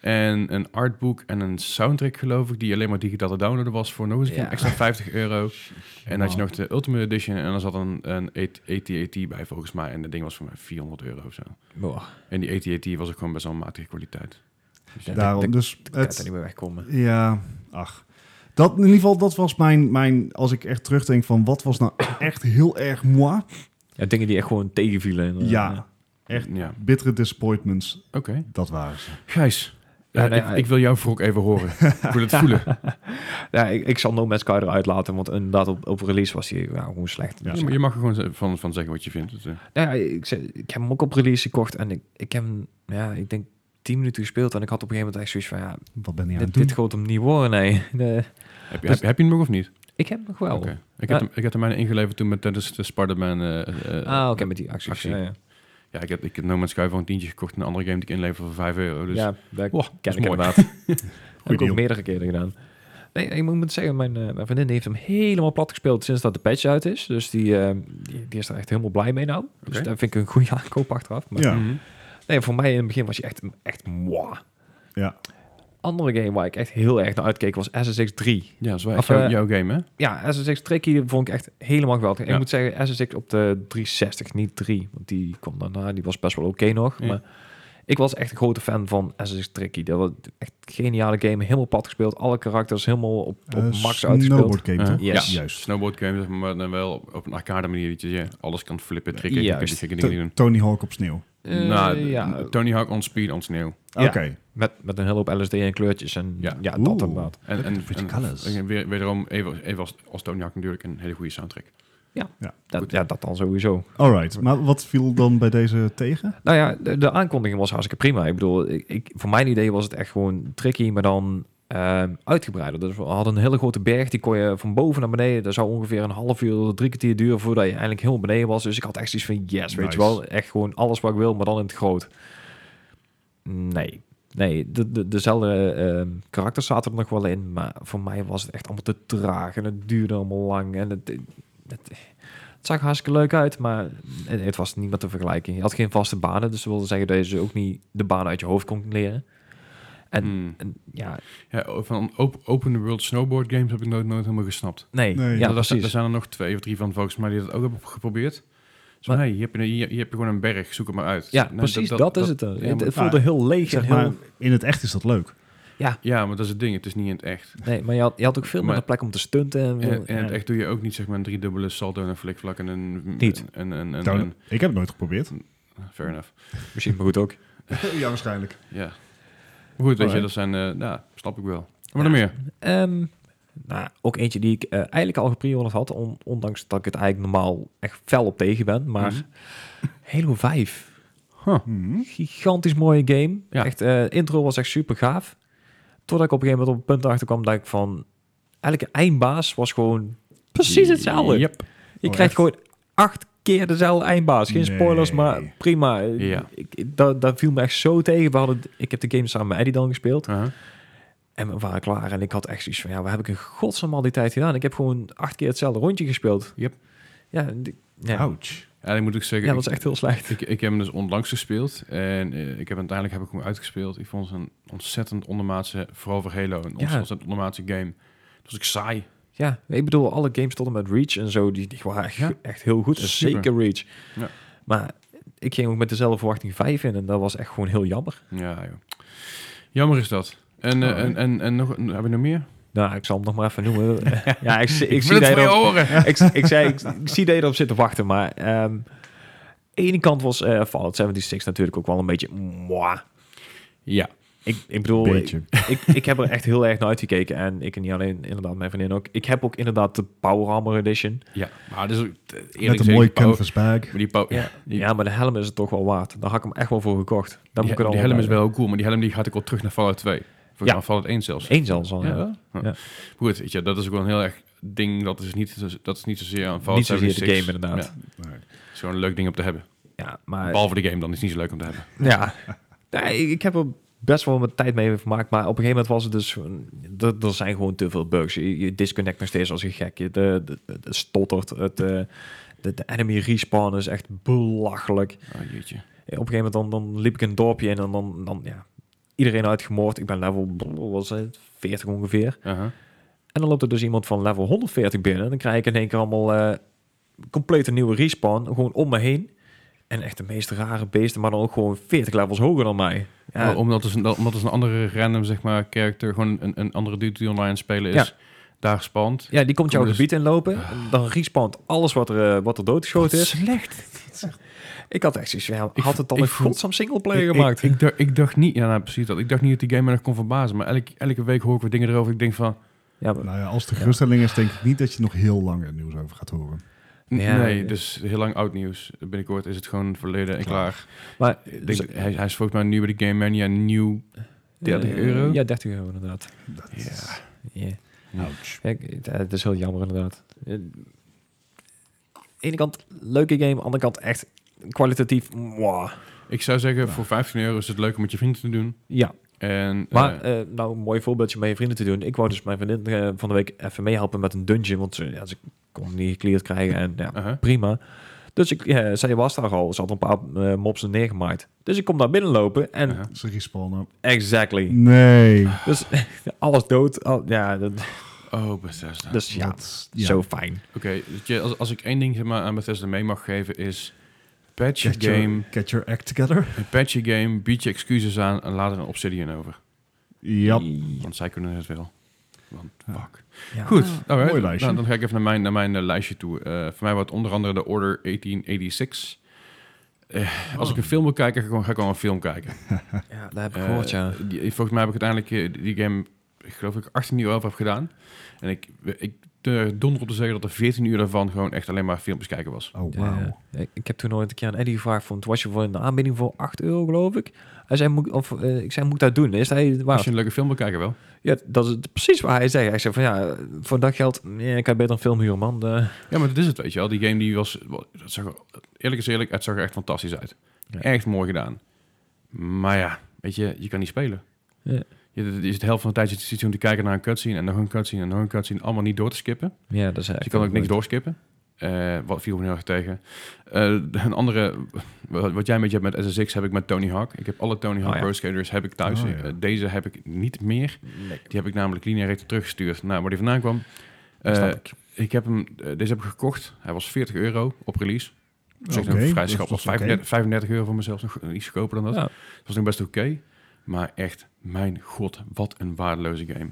En een artboek en een soundtrack geloof ik, die alleen maar digitaal te downloaden was voor nog eens een keer Ja. extra 50 euro. En had je Man. nog de Ultimate Edition en dan zat een, een AT-AT bij volgens mij. En dat ding was voor mij 400 euro of zo. Boah, En die AT-AT was ook gewoon best wel matige kwaliteit. ja, Daarom, dat- dus dat kan je er het, niet meer wegkomen. ja, ach. Dat, in ieder geval, dat was mijn, mijn, als ik echt terugdenk van wat was nou echt heel erg moi. Ja, dingen die echt gewoon tegenvielen. eh, inderdaad. Ja, Echt? Ja, bittere disappointments, oké. dat waren ze. Gijs, Ja, eh, nee, ik, hij- ik wil jouw wrok even horen. ik wil het voelen. Ja, ik, ik zal No Man's Sky eruit laten, want inderdaad op, op release was hij ja, gewoon slecht. Ja. Dus, Ja, maar je mag er gewoon ze- van, van zeggen wat je vindt. Dus, eh, nou ja, ik, zei- ik heb hem ook op release gekocht en ik, ik heb hem, ja, ik denk 10 minuten gespeeld en ik had op een gegeven moment echt zoiets van, ja, Wat ben je aan dit, het doen? dit gaat hem niet worden, nee. Nee. heb, je- heb, heb je hem nog of niet? ik heb hem nog wel. Oké. Ik, Ja. heb hem, ik heb hem mijne ingeleverd toen met tijdens de Spider-Man. eh, eh, Ah, oké, met die acties. Actie. Ja, ja. Ja, ik heb, ik heb No Man's Sky voor een tientje gekocht en een andere game die ik inlever voor 5 euro. Dus ja, dat Wow, dat ken is ik mooi. inderdaad. heb ik ook deal. meerdere keren gedaan. Nee, ik moet- moet zeggen, mijn, eh, mijn vriendin die heeft hem helemaal plat gespeeld sinds dat de patch uit is. Dus die, eh, die, die is er echt helemaal blij mee nou. Dus Oké. daar vind ik een goede aankoop achteraf. Maar Ja. Mhm. Nee, voor mij in het begin was hij echt, echt moi. Ja. andere game waar ik echt heel erg naar uitkeek was SSX 3. Ja, dat is wel Of, echt jou- eh, jouw game, hè? Ja, SSX Tricky vond ik echt helemaal geweldig. En Ja. Ik moet zeggen, SSX op de 360, niet 3. Want die kwam daarna, die was best wel oké nog. Ja. Maar ik was echt een grote fan van SSX Tricky. Dat was echt een geniale game. Helemaal pad gespeeld. Alle karakters helemaal op, op Eh, max snowboard uitgespeeld. game, Uh-huh. toch? Yes. Ja, Juist. Snowboard game, zeg maar dan wel op, op een arcade manier dat je ja, alles kan flippen, trikken, Juist. je kunt die gekke dingen doen. To- Tony Hawk op sneeuw. Eh, nou, ja. Tony Hawk on speed, on sneeuw. Oké. Ja. Met, met een hele hoop LSD en kleurtjes. En ja, Ja. dat Oeh. inderdaad. En, en, Pretty en- colours. en weer, wederom, even, even als, als Tony Hawk natuurlijk, een hele goede soundtrack. Dat, Goed. ja, dat dan sowieso. Alright. Maar wat viel dan bij deze tegen? Nou ja, de, de aankondiging was hartstikke prima. Ik bedoel, ik, ik- voor mijn idee was het echt gewoon tricky, maar dan ehm, uitgebreider. Dus we hadden een hele grote berg, die kon je van boven naar beneden. Dat zou ongeveer een half uur, tot drie kwartier duren voordat je eindelijk helemaal beneden was. Dus ik had echt zoiets van, yes, weet je Nice. wel. Echt gewoon alles wat ik wil, maar dan in het groot. Nee. Nee, de, de, dezelfde ehm karakters zaten er nog wel in, maar voor mij was het echt allemaal te traag en het duurde allemaal lang. En het, het, het zag er hartstikke leuk uit, maar het, het was niet met te vergelijken. Je had geen vaste banen, dus dat wilde zeggen dat je ze ook niet de banen uit je hoofd kon leren. En- Hmm. En ja, Ja, o- van op- open world snowboard games heb ik nooit, nooit helemaal gesnapt. nee, Nee. ja, er, zijn- er precies. zijn er nog twee of drie van volgens mij die dat ook hebben geprobeerd. Zo, Maar- hey, hier, heb je, hier, hier heb je gewoon een berg, zoek het maar uit. Ja, Nee, precies, dat, is het. eh. ja, het, maar- het voelde heel leeg. en Zeg heel, maar, in het echt is dat leuk. Ja, maar dat is het ding, het is niet in het echt. nee, maar je had, je had ook veel Maar- minder plek om te stunten. En, En, en in het ja. echt doe je ook niet zeg maar een driedubbele salto en een flikvlak en een... Niet. En, en, en, Nou, en- ik heb het nooit geprobeerd. fair enough. Misschien maar goed ook. ja, waarschijnlijk. Ja. Maar goed, weet je, Alright. dat zijn... eh nou, snap ik wel. Wat er meer? Ehm, nou, ook eentje die ik eh, eigenlijk al gepreorderd had, on- ondanks dat ik het eigenlijk normaal echt fel op tegen ben. Maar Mhm. Halo 5. Huh. Hmm. gigantisch mooie game. Ja. Echt, eh, intro was echt super gaaf. Totdat ik op een gegeven moment op het punt achterkwam dat ik van... Eigenlijk een eindbaas was gewoon precies hetzelfde. Yep. Je Oh, krijgt echt? gewoon acht keer dezelfde eindbaas. Geen Nee. spoilers, maar prima. Ja. Ik, dat, dat viel me echt zo tegen. We hadden, ik heb de game samen met Eddie dan gespeeld. Uh-huh. En we waren klaar. En ik had echt zoiets van... Ja, waar heb ik in godsnaam al die tijd gedaan? Ik heb gewoon acht keer hetzelfde rondje gespeeld. Yep. Ja, en die- ja. Ouch. Ja, ik moet ook ja zeggen... dat ik- was echt heel slecht. Ik, ik heb hem dus onlangs gespeeld en eh, ik heb uiteindelijk heb ik hem uitgespeeld. Ik vond het een ontzettend ondermaatse, vooral voor Halo, een ontzettend ondermaatse game. Dat was ik saai. Ja, ik bedoel, alle games tot en met Reach en zo, die, die waren echt, Ja. echt heel goed. En Super. zeker Reach. Ja. Maar ik ging ook met dezelfde verwachting 5 in en dat was echt gewoon heel jammer. Ja, joh. Jammer is dat. En, eh, Oh, en, en, en nog, heb je nog meer? Nou, ik zal hem nog maar even noemen. ja, ik, zie- ik, wil zie dat het je van je erop, horen. ik, ik, zei, ik, ik zie dat je erop zit te wachten, maar... ehm aan de ene kant was eh Fallout 76 natuurlijk ook wel een beetje... Mwah. Ja. Ik, ik bedoel, Beetje. ik, ik heb er echt heel erg naar uitgekeken. En ik en niet alleen, inderdaad, mijn vriendin ook. Ik heb ook inderdaad de Power Armor Edition. Ja, maar dus, eerlijk Met gezegd, een mooie die power- canvas bag. Maar die, power- Ja. die, Ja, maar de helm is het toch wel waard. Daar had ik hem echt wel voor gekocht. Daar die, moet ik die het allemaal helm bij is wel heel cool, maar die helm die gaat ik al terug naar Fallout 2. Volgens Ja. ja. Fallout 1 zelfs. Eén zelfs al, Oh, ja. Huh. Ja. Goed, weet je, dat is ook wel een heel erg ding. Dat is niet, dat is niet zozeer aan Fallout Niet zozeer de 76. game inderdaad. Ja, Ja, Nee. het is gewoon een leuk ding om te hebben. maar... Behalve de game dan, is het niet zo leuk om te hebben. ja. Nee, ik- ik heb er best wel mijn tijd mee vermaakt, maar op een gegeven moment was het dus... gewoon- Er, er zijn gewoon te veel bugs. Je, je disconnect nog steeds als een gek. Je de, de, de- de stottert, het... eh, de, de enemy respawn is echt belachelijk. Op Oh jeetje. een gegeven moment dan, dan liep ik een dorpje in en dan, dan ja, iedereen uitgemoord. Ik ben level, wat was het, 40 ongeveer. Uh-huh. En dan loopt er dus iemand van level 140 binnen. En dan krijg ik in één keer allemaal eh compleet een nieuwe respawn. Gewoon om me heen. En echt de meest rare beesten, maar dan ook gewoon 40 levels hoger dan mij. Ja, Nou, omdat, dus een, dat- omdat dus een andere random, zeg maar, character, gewoon een, een andere dude die online aan het spelen is, Ja. daar spant. ja die komt jouw dus- gebied inlopen. En Dan respawnt alles wat er, eh, wat er doodgeschoten is. Slecht. Ik had echt zoiets van, ja, Ik had het dan vo- een ik voel- godsam singleplayer Ik, ik, gemaakt? ik, dacht, ik dacht niet, ja nou, precies dat. Ik dacht niet dat die game me nog kon verbazen, maar elke, elke week hoor ik weer dingen erover. Ik denk van, ja, maar- Nou ja, als de geruststelling is, denk ik niet dat je nog heel lang er nieuws over gaat horen. n- Ja, nee, ja. dus heel lang oud nieuws. Binnenkort is het gewoon verleden en klaar. maar dus, Ik denk, hij, hij is volgens mij nu bij de Game Mania nieuw. 30 eh, euro? Ja, 30 euro inderdaad. Dat is... Ja. Ouch. Ja, ik- het- het is heel jammer inderdaad. Eh, Aan de ene kant leuke game, aan de andere kant echt kwalitatief. mwah. Ik zou zeggen, voor 15 euro is het leuk om met je vrienden te doen. Ja, En, Maar eh, eh, nou, een mooi voorbeeldje met je vrienden te doen. Ik wou dus mijn vriendin eh, van de week even meehelpen met een dungeon. Want ze, ja, ze kon hem niet gecleared krijgen. En ja, uh-huh. prima. Dus ik, eh, zij was daar al. Ze had een paar eh, mopsen neergemaaid. Dus ik kom daar binnenlopen en... Ja. Ze respawnen. Exactly. Nee. Dus alles dood. al- ja, dat, Oh, Bethesda. dus ja, Dat- ja. zo fijn. Oké, weet je, als, als ik één ding zeg maar, aan Bethesda mee mag geven is... Patch je Get game, your, get your act together. een patch je game, bied je excuses aan en laat er een Obsidian over. Ja. Want zij kunnen het wel. Want fuck. Ja. Goed, alright. Mooi lijstje. Nou, dan ga ik even naar mijn, naar mijn eh, lijstje toe. Eh, voor mij wordt onder andere de Order 1886. Eh, Als ik een film wil kijken, ga ik gewoon, ga ik gewoon een film kijken. Ja, dat heb ik Eh, gehoord, ja. die- volgens mij heb ik uiteindelijk eh, die game, ik geloof ik, 18 uur over heb gedaan. En ik, ik eh, donder op te zeggen dat er 14 uur daarvan gewoon echt alleen maar filmpjes kijken was. Oh, Eh, wauw. ik, ik heb toen ooit een keer aan Eddie gevraagd, van, was je voor een aanbieding voor 8 euro, geloof ik? Hij zei, moet, ik- of, eh, ik zei, moet ik dat doen? Is hij Als waar? je een leuke film wil kijken wel. Ja, dat is precies wat hij zei. Hij zei van, ja, voor dat geld, nee, ik heb beter een film huren, man. De- Ja, maar dat is het, weet je wel. Die game die was, wel, dat zag, er- eerlijk is eerlijk, het zag er echt fantastisch uit. Ja. Echt mooi gedaan. Maar ja, weet je, je kan niet spelen. Ja. Je, je zit de helft van de tijd zit je toen te kijken naar een cutscene en nog een cutscene en nog een cutscene. Allemaal niet door te skippen. ja, dat is Dus je kan ook niks doorskippen. Eh, wat viel me heel erg tegen. Eh, een andere, wat, wat jij een beetje hebt met SSX, heb ik met Tony Hawk. Ik heb alle Tony Hawk Oh, ja. Pro Skaters heb ik thuis. Oh, ja. Eh, deze heb ik niet meer. Nee. Die heb ik namelijk lineair recht teruggestuurd naar waar die vandaan kwam. Eh, Snap ik. ik heb hem, eh, deze heb ik gekocht. Hij was 40 euro op release. Op zich nog Oké, vrij dat schat. was oké. 35, 35 euro voor mezelf. Nog iets goedkoper dan dat. Ja. Dat was nog best oké. Maar echt, mijn god, wat een waardeloze game.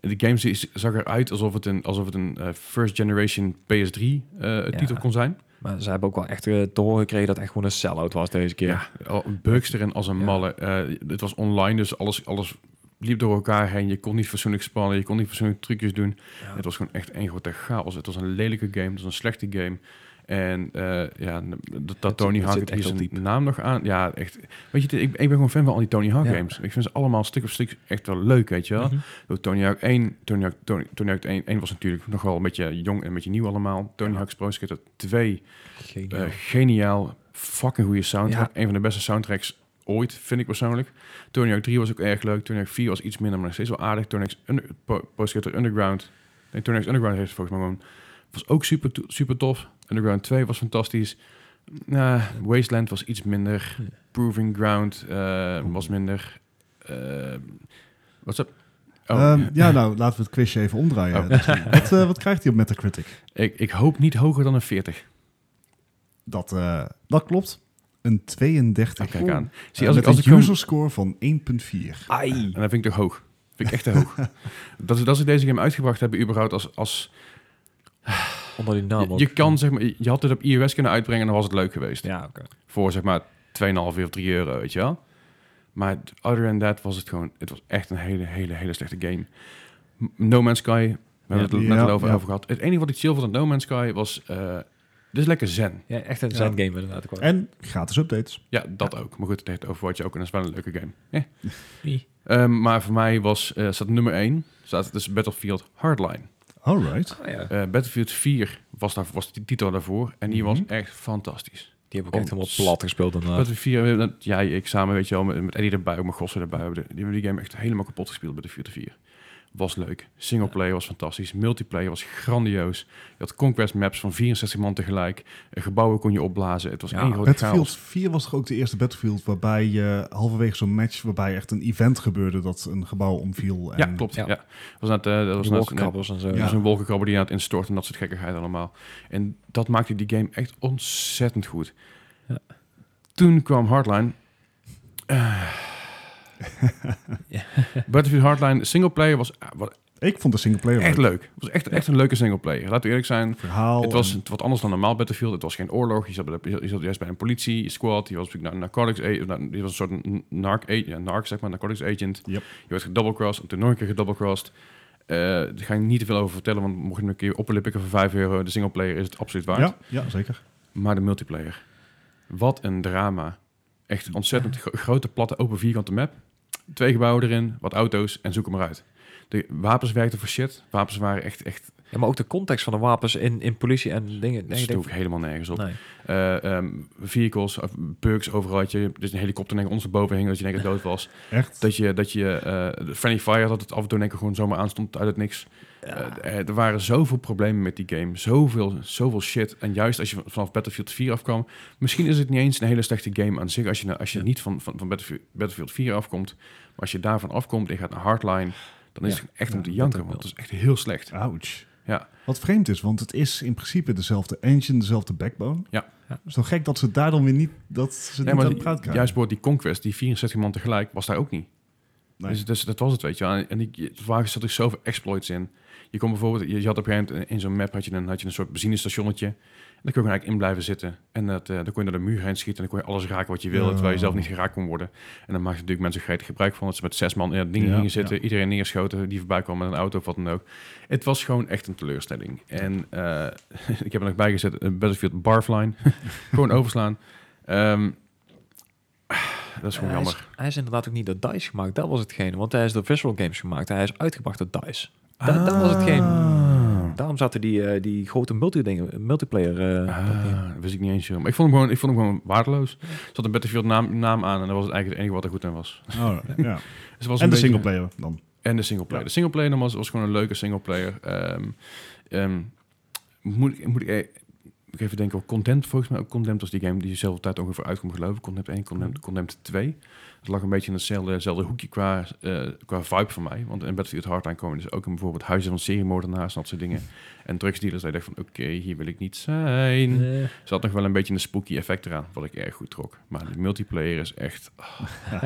De game zi- zag eruit alsof het een, alsof het een eh, first generation PS3 eh, titel kon zijn. Maar ze hebben ook wel echt eh, te horen gekregen dat het echt gewoon een sell-out was deze keer. al een Bugster en als een Ja. malle. Eh, het was online, dus alles, alles liep door elkaar heen. Je kon niet fatsoenlijk spannen, je kon niet fatsoenlijk trucjes doen. Ja. Het was gewoon echt één grote chaos. Het was een lelijke game, het was een slechte game. En eh, ja, dat, dat Het- Tony het Hawk zit het hier echt heel zijn naam nog aan. Ja, echt. Weet je, ik, ik ben gewoon fan van al die Tony Hawk Ja. games. Ik vind ze allemaal stuk op stuk echt wel leuk, weet je wel. Mhm. Door Tony Hawk 1, Tony Hawk, Tony, Tony Hawk 1, 1 was natuurlijk nog wel een beetje jong en een beetje nieuw allemaal. Tony Hawk's Pro Skater 2, Geen eh, geniaal, fucking goede soundtrack. Ja. Een van de beste soundtracks ooit, vind ik persoonlijk. Tony Hawk 3 was ook erg leuk. Tony Hawk 4 was iets minder, maar nog steeds wel aardig. Tony Hawk's Under- Po- Pro Skater Underground. Nee, Tony Hawk's Underground heeft het volgens mij gewoon... Was ook super, to- super tof. Underground 2 was fantastisch. Eh, Wasteland was iets minder. Ja. Proving Ground eh, was minder. Eh, Wat is dat? Ehm, ja, nou, laten we het quizje even omdraaien. Oh. Wat, eh, wat krijgt hij op Metacritic? ik, ik hoop niet hoger dan een 40. Dat, eh, dat klopt. Een 32. Ah, kijk aan. Zie, Eh, als met ik, als ik een hem- user score van 1.4. Ai. En dat vind ik te hoog. Vind ik echt te hoog. dat, ze, dat ze deze game uitgebracht hebben überhaupt als... als Onder die naam je, ook. je kan, zeg maar, je had het op iOS kunnen uitbrengen en dan was het leuk geweest. Ja, oké. Voor zeg maar 2,5 of 3 euro, weet je wel. Maar other than that was het gewoon... Het was echt een hele, hele, hele slechte game. M- No Man's Sky, we hebben het Ja, net al over, ja. over gehad. Het enige wat ik chill vond aan No Man's Sky was... eh, dit is lekker zen. Ja, echt een Ja. zen-game inderdaad. ook wel. En gratis updates. Ja, dat ook. Maar goed, het heet Overwatch ook en dat is wel een leuke game. Eh. Wie? Ehm, maar voor mij was, eh, staat nummer 1, staat dus Battlefield Hardline. Alright. Ah, ja. Eh, Battlefield 4 was, daar, was de titel daarvoor. En die Mhm. was echt fantastisch. Die hebben ook echt helemaal Ons- plat gespeeld daarna. Battlefield 4, eh, dat- ja, ik samen, weet je wel, met, met Eddie erbij, ook met Gossen erbij. we hebben de- Die hebben die game echt helemaal kapot gespeeld, Battlefield 4. Was leuk. Singleplayer was fantastisch. Multiplayer was grandioos. Je had conquest maps van 64 man tegelijk. Eh, Gebouwen kon je opblazen. Het was Ja, één grote Battlefield chaos. 4 was toch ook de eerste Battlefield waarbij je halverwege zo'n match, waarbij echt een event gebeurde dat een gebouw omviel. En Ja, klopt. Ja. Ja. Was net, eh, dat was Die net- wolkenkrabbers en zo. Ja. Dat is Eh, dus een wolkenkrabber die aan het instorten en dat soort gekkigheid allemaal. En dat maakte die game echt ontzettend goed. Ja. Toen kwam Hardline. Eh. Battlefield Hardline singleplayer was, ah, was Ik vond de singleplayer echt leuk. leuk. was echt, echt een leuke singleplayer. Laten we eerlijk zijn. Verhaal. Het was en- wat anders dan normaal Battlefield. Het was geen oorlog. Je zat, bij de- je zat juist bij een politie squad. Je was natuurlijk naar een narcotics agent. Je was een soort n- narc, a- ja, narc zeg maar, narcotics agent. Yep. Je werd gedoublecrossed. En toen nog een keer gedoublecrossed. Eh daar ga ik niet te veel over vertellen, want mocht je hem een keer oppenlippen voor 5 euro, de singleplayer is het absoluut waard. ja, ja, zeker. Maar de multiplayer. Wat een drama. Echt ontzettend gro- grote, platte, open vierkante map. Twee gebouwen erin, wat auto's en zoek hem eruit. De wapens werkten voor shit. Wapens waren echt, echt Ja, maar ook de context van de wapens in, in politie en dingen. Dat Nee, ik sloeg denk, helemaal nergens op. nee. Eh, ehm, vehicles, of perks overal had je. Dus een helikopter denk ik ons erboven hing dat je denk ik dood was. Echt? Dat je, dat je eh, de friendly fire dat het af en toe denk ik gewoon zomaar aanstond uit het niks. Eh, er waren zoveel problemen met die game. Zoveel, zoveel shit. En juist als je vanaf Battlefield 4 afkwam... Misschien is het niet eens een hele slechte game aan zich... als je, als je niet van, van, van Battlefield, Battlefield 4 afkomt. Maar als je daarvan afkomt en je gaat naar Hardline... dan is Ja. het echt Ja, om te dat janken. ook Want het is echt heel slecht. Ouch. Ja. Wat vreemd is, want het is in principe dezelfde engine, dezelfde backbone. Ja. Ja. Zo gek dat ze daar dan weer niet, dat ze Ja, niet maar aan die- het praat krijgen. juist bijvoorbeeld die Conquest, die 64 man tegelijk, was daar ook niet. Nee. Dus, dus dat was het, weet je wel. En- En ik, het wagen zat er zoveel exploits in. Je kon bijvoorbeeld, je, je had op een gegeven moment eh, in zo'n map had je een, had je een soort benzinestationnetje. En daar kon je gewoon eigenlijk in blijven zitten. En dat, eh, dan kon je naar de muur heen schieten en dan kon je alles raken wat je wilde, Ja. terwijl je zelf niet geraakt kon worden. En dan maakten natuurlijk mensen gretig gebruik van dat ze met zes man in dat ding Ja, gingen zitten, ja. iedereen neerschoten die voorbij kwam met een auto of wat dan ook. Het was gewoon echt een teleurstelling. En eh, ik heb er nog bij gezet, een Battlefield Barfline. gewoon overslaan. Ehm, dat is gewoon hij, jammer. is, hij is inderdaad ook niet door DICE gemaakt. Dat was hetgene. Want hij is door Visual Games gemaakt. Hij is uitgebracht door DICE. Da- dat was Ah. hetgeen. Daarom zaten die, eh, die grote multi-dingen, multiplayer... eh, dat niet. Ah, dat wist ik niet eens, joh. Maar ik vond hem gewoon, ik vond hem gewoon waardeloos. Er zat een Battlefield naam, naam aan en dat was het eigenlijk het enige wat er goed aan was. Oh, ja. Dus het was En de een beetje- singleplayer dan. En de singleplayer. Ja. De singleplayer dan was, was gewoon een leuke singleplayer. Ehm ehm, moet, ik- moet ik, eh, moet ik even denken, oh, Condemned volgens mij. ook Condemned was die game die dezelfde tijd ongeveer uitkomt geloof ik. Condemned 1, Condemned, Condemned 2. Dat lag een beetje in hetzelfde, hetzelfde hoekje qua, eh, qua vibe voor mij. Want in Battlefield Hardline komen dus ook in bijvoorbeeld huizen van seriemoordenaars en dat soort dingen. En drugsdealers. Dat je dacht van, oké, hier wil ik niet zijn. Eh, Er zat nog wel een beetje een spooky effect eraan, wat ik erg goed trok. Maar de multiplayer is echt... ah.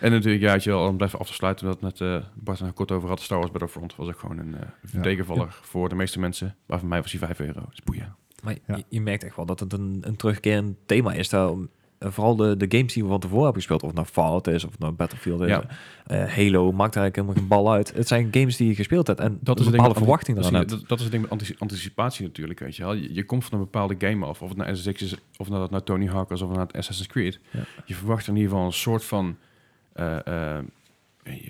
en natuurlijk, ja, had je al om het even af te sluiten, dat net eh Bart er kort over had, Star Wars Battlefront was ook gewoon een eh Ja. tegenvaller voor de meeste mensen. Maar voor mij was die 5 euro. Dat is boeien. maar Ja. je, je merkt echt wel dat het een, een terugkerend thema is. Daar, eh, vooral de, de games die we van tevoren hebben gespeeld. Of het nou Fallout is, of het nou Battlefield is. Ja. eh, Halo maakt eigenlijk helemaal geen bal uit. Het zijn games die je gespeeld hebt. En dat het is een ding bepaalde met verwachting anti- eraan dat, hebt. is- dat, dat is het ding met antici- anticipatie natuurlijk, weet je wel. Je, je komt van een bepaalde game af, of het nou SSX is, of nou dat nou Tony Hawk was, of nou het Assassin's Creed. Ja. Je verwacht in ieder geval een soort van eh, eh,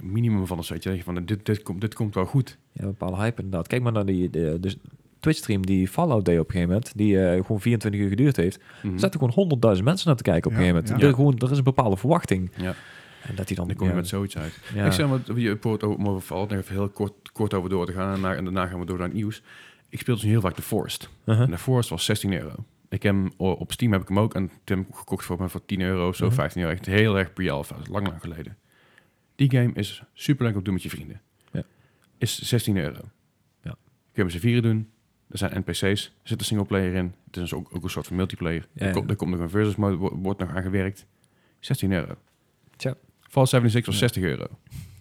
minimum van een soort. Je denkt van, dit, dit, komt, dit komt wel goed. Ja, een bepaalde hype inderdaad. Kijk maar naar die, de, de Twitch-stream die Fallout deed op een gegeven moment, die eh, gewoon 24 uur geduurd heeft. Mhm. Er zaten gewoon honderdduizend mensen naar te kijken op een Ja, gegeven moment. ja. Er, gewoon, er is een bepaalde verwachting. Ja. En dat die dan... Dan kom je ja, met zoiets uit. ja. Ik zeg maar, je poort over Marvel Fallout, nog even heel kort, kort over door te gaan. En, daarna- en daarna gaan we door naar het nieuws. Ik speel dus heel vaak The Forest. Uh-huh. En The Forest was 16 euro. Ik heb hem, o- op Steam heb ik hem ook. En Tim gekocht voor me voor 10 euro of zo, Mhm. 15 euro. Echt heel erg pre-alpha. Dat is Lang, lang geleden. Die game is super leuk om te doen met je vrienden. Ja. Is 16 euro. Ja. Kun je met z'n vieren doen. Er zijn NPC's. Er zit een singleplayer in. Het is dus ook, ook een soort van multiplayer. Ja, Er, ja. komt, er komt nog een versus mode. wo- Wordt nog aangewerkt. 16 euro. Tja. Fallout 76 Ja. was 60 euro.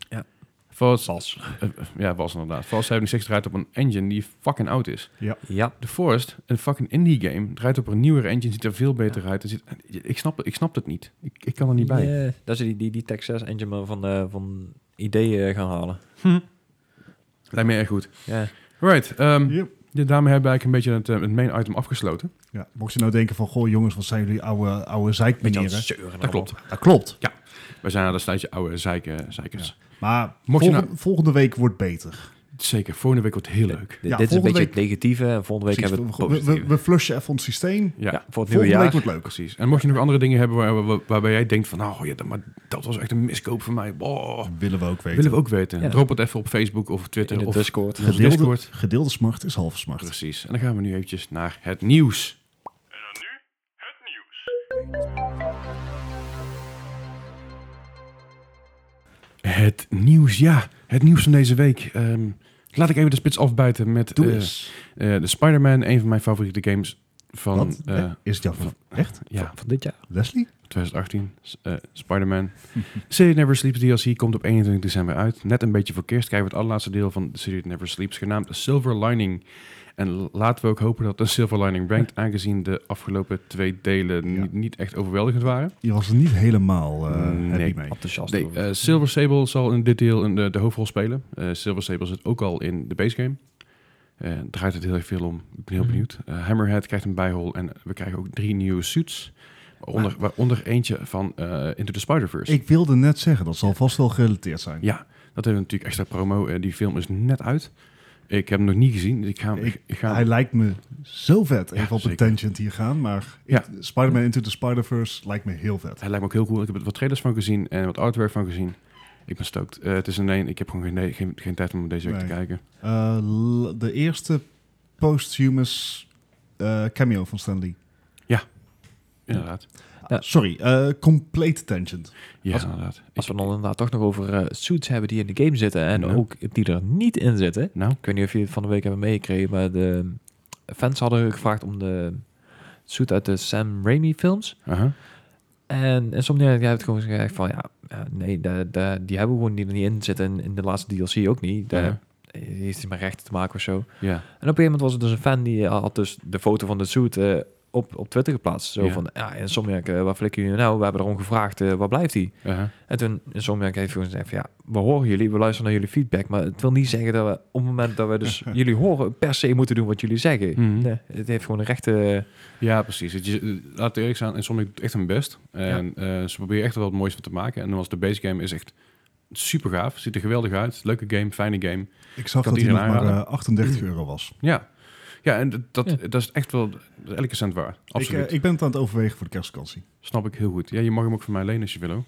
Ja. Fallout, Sas. eh, ja, was inderdaad. Fallout 76 draait op een engine die fucking oud is. Ja, The Forest, een fucking indie game, draait op een nieuwere engine, ziet er veel beter uit. Er Zit, ik, snap, ik snap het niet. Ik, ik kan er niet bij. Ja, dat ze die, die, die Texas engine maar van, eh, van ideeën eh, gaan halen. Lijkt me erg goed. Ja. Right, ehm, Yep. ja, daarmee hebben we eigenlijk een beetje het, eh, het main item afgesloten. Ja. Mocht je nou denken van, goh jongens, wat zijn jullie oude, oude Beetje aan het zeikmanieren. zeuren Dat allemaal. klopt. Dat klopt. We zijn aan een tijdje oude zeiken, zeikers. Maar Mocht je nou- volgende, volgende week wordt beter. Zeker, volgende week wordt heel leuk. Dit, Ja, dit is een volgende beetje het negatieve. En volgende week Precies. hebben we We- we, het we, positieve. we flushen even ons systeem. Ja, voor Ja, het nieuwe Volgende jaar. week wordt leuk. precies. En mocht je nog andere dingen hebben waar, waar- waarbij jij denkt van... nou ja, dat, maar dat was echt een miskoop voor mij. Oh, Willen we ook weten. willen we ook weten. Ja. Drop het even op Facebook of Twitter In de of Discord. in onze Gedeelde- Discord. Gedeelde smart is halve smart. Precies. En dan gaan we nu eventjes naar het nieuws. En dan nu het nieuws. Het nieuws, ja. Het nieuws van deze week. Ehm, laat ik even de spits afbuiten met Doe eh, eens. eh, de Spider-Man, een van mijn favoriete games van Wat? eh, is het jouw Echt? ja, Van dit jaar. Leslie? 2018. S- eh, Spider-Man. City Never Sleeps DLC komt op 21 december uit. Net een beetje voor kerst krijgen we het allerlaatste deel van The City Never Sleeps, genaamd Silver Lining. En l- laten we ook hopen dat de Silver Lining rankt, aangezien de afgelopen twee delen Ja. niet, niet echt overweldigend waren. Je was er niet helemaal eh Nee. happy mee. Enthousiast. Nee, over. eh, Silver Sable zal in dit deel in de, de hoofdrol spelen. Eh, Silver Sable zit ook al in de base game. Eh, draait het heel erg veel om. Ik ben heel Mhm. benieuwd. Eh, Hammerhead krijgt een bijrol en we krijgen ook drie nieuwe suits. Waaronder, waaronder eentje van eh, Into the Spider-Verse. Ik wilde net zeggen, dat zal vast wel gerelateerd zijn. Ja, dat heeft natuurlijk extra promo. Eh, die film is net uit. Ik heb hem nog niet gezien. Ik ga, Ik- ik, ga Hij lijkt me zo vet. Ja, Even op een zeker. tangent hier gaan, maar Ja. ik- Spider-Man Into the Spider-Verse lijkt me heel vet. Hij lijkt me ook heel cool. Ik heb er wat trailers van gezien en wat artwork van gezien. Ik ben stoked. Eh, het is een één. Ik heb gewoon geen, geen, geen tijd om deze week Nee. te kijken. Eh, l- de eerste posthumous eh, cameo van Stan Lee. Inderdaad. Ja. Sorry, eh, complete tangent. Ja, Als- inderdaad. Ik- Als we dan inderdaad toch nog over eh, suits hebben die in de game zitten en Ja. ook die er niet in zitten. nou, Ik weet niet of jullie het van de week hebben meegekregen, maar de fans hadden gevraagd om de suit uit de Sam Raimi films. aha. En Insomniac jij hebt gewoon gezegd van ja, eh, nee, de, de, die hebben we gewoon niet, niet in zitten in, in de laatste DLC ook niet. Daar Ja. heeft hij maar rechten te maken of zo. En op ja. een gegeven moment was er dus een fan die had dus de foto van de suit eh, op, op Twitter geplaatst. Zo Ja. van ja, Insomniac, eh, waar flikken jullie nou? We hebben erom gevraagd, eh, waar blijft hij? aha. En toen Insomniac heeft gewoon gezegd van ja, we horen jullie, we luisteren naar jullie feedback. Maar het wil niet zeggen dat we op het moment dat we dus jullie horen per se moeten doen wat jullie zeggen. Mhm. Nee, het heeft gewoon een rechte... Ja, precies. Het is, eh, laat ik eerlijk zijn. En soms doet echt hun best. En eh, ze proberen echt er wel het mooiste van te maken. En dan was de base game is echt super gaaf. Ziet er geweldig uit. Leuke game, fijne game. Ik zag Kan dat hij nog iedereen maar eh, aanraden? 38 euro was. Ja. Ja, en dat, dat, Ja. dat is echt wel dat is elke cent waar. Ik, Absoluut. eh, ik ben het aan het overwegen voor de kerstvakantie. Snap ik heel goed. Ja, je mag hem ook van mij lenen als je wil. hoor.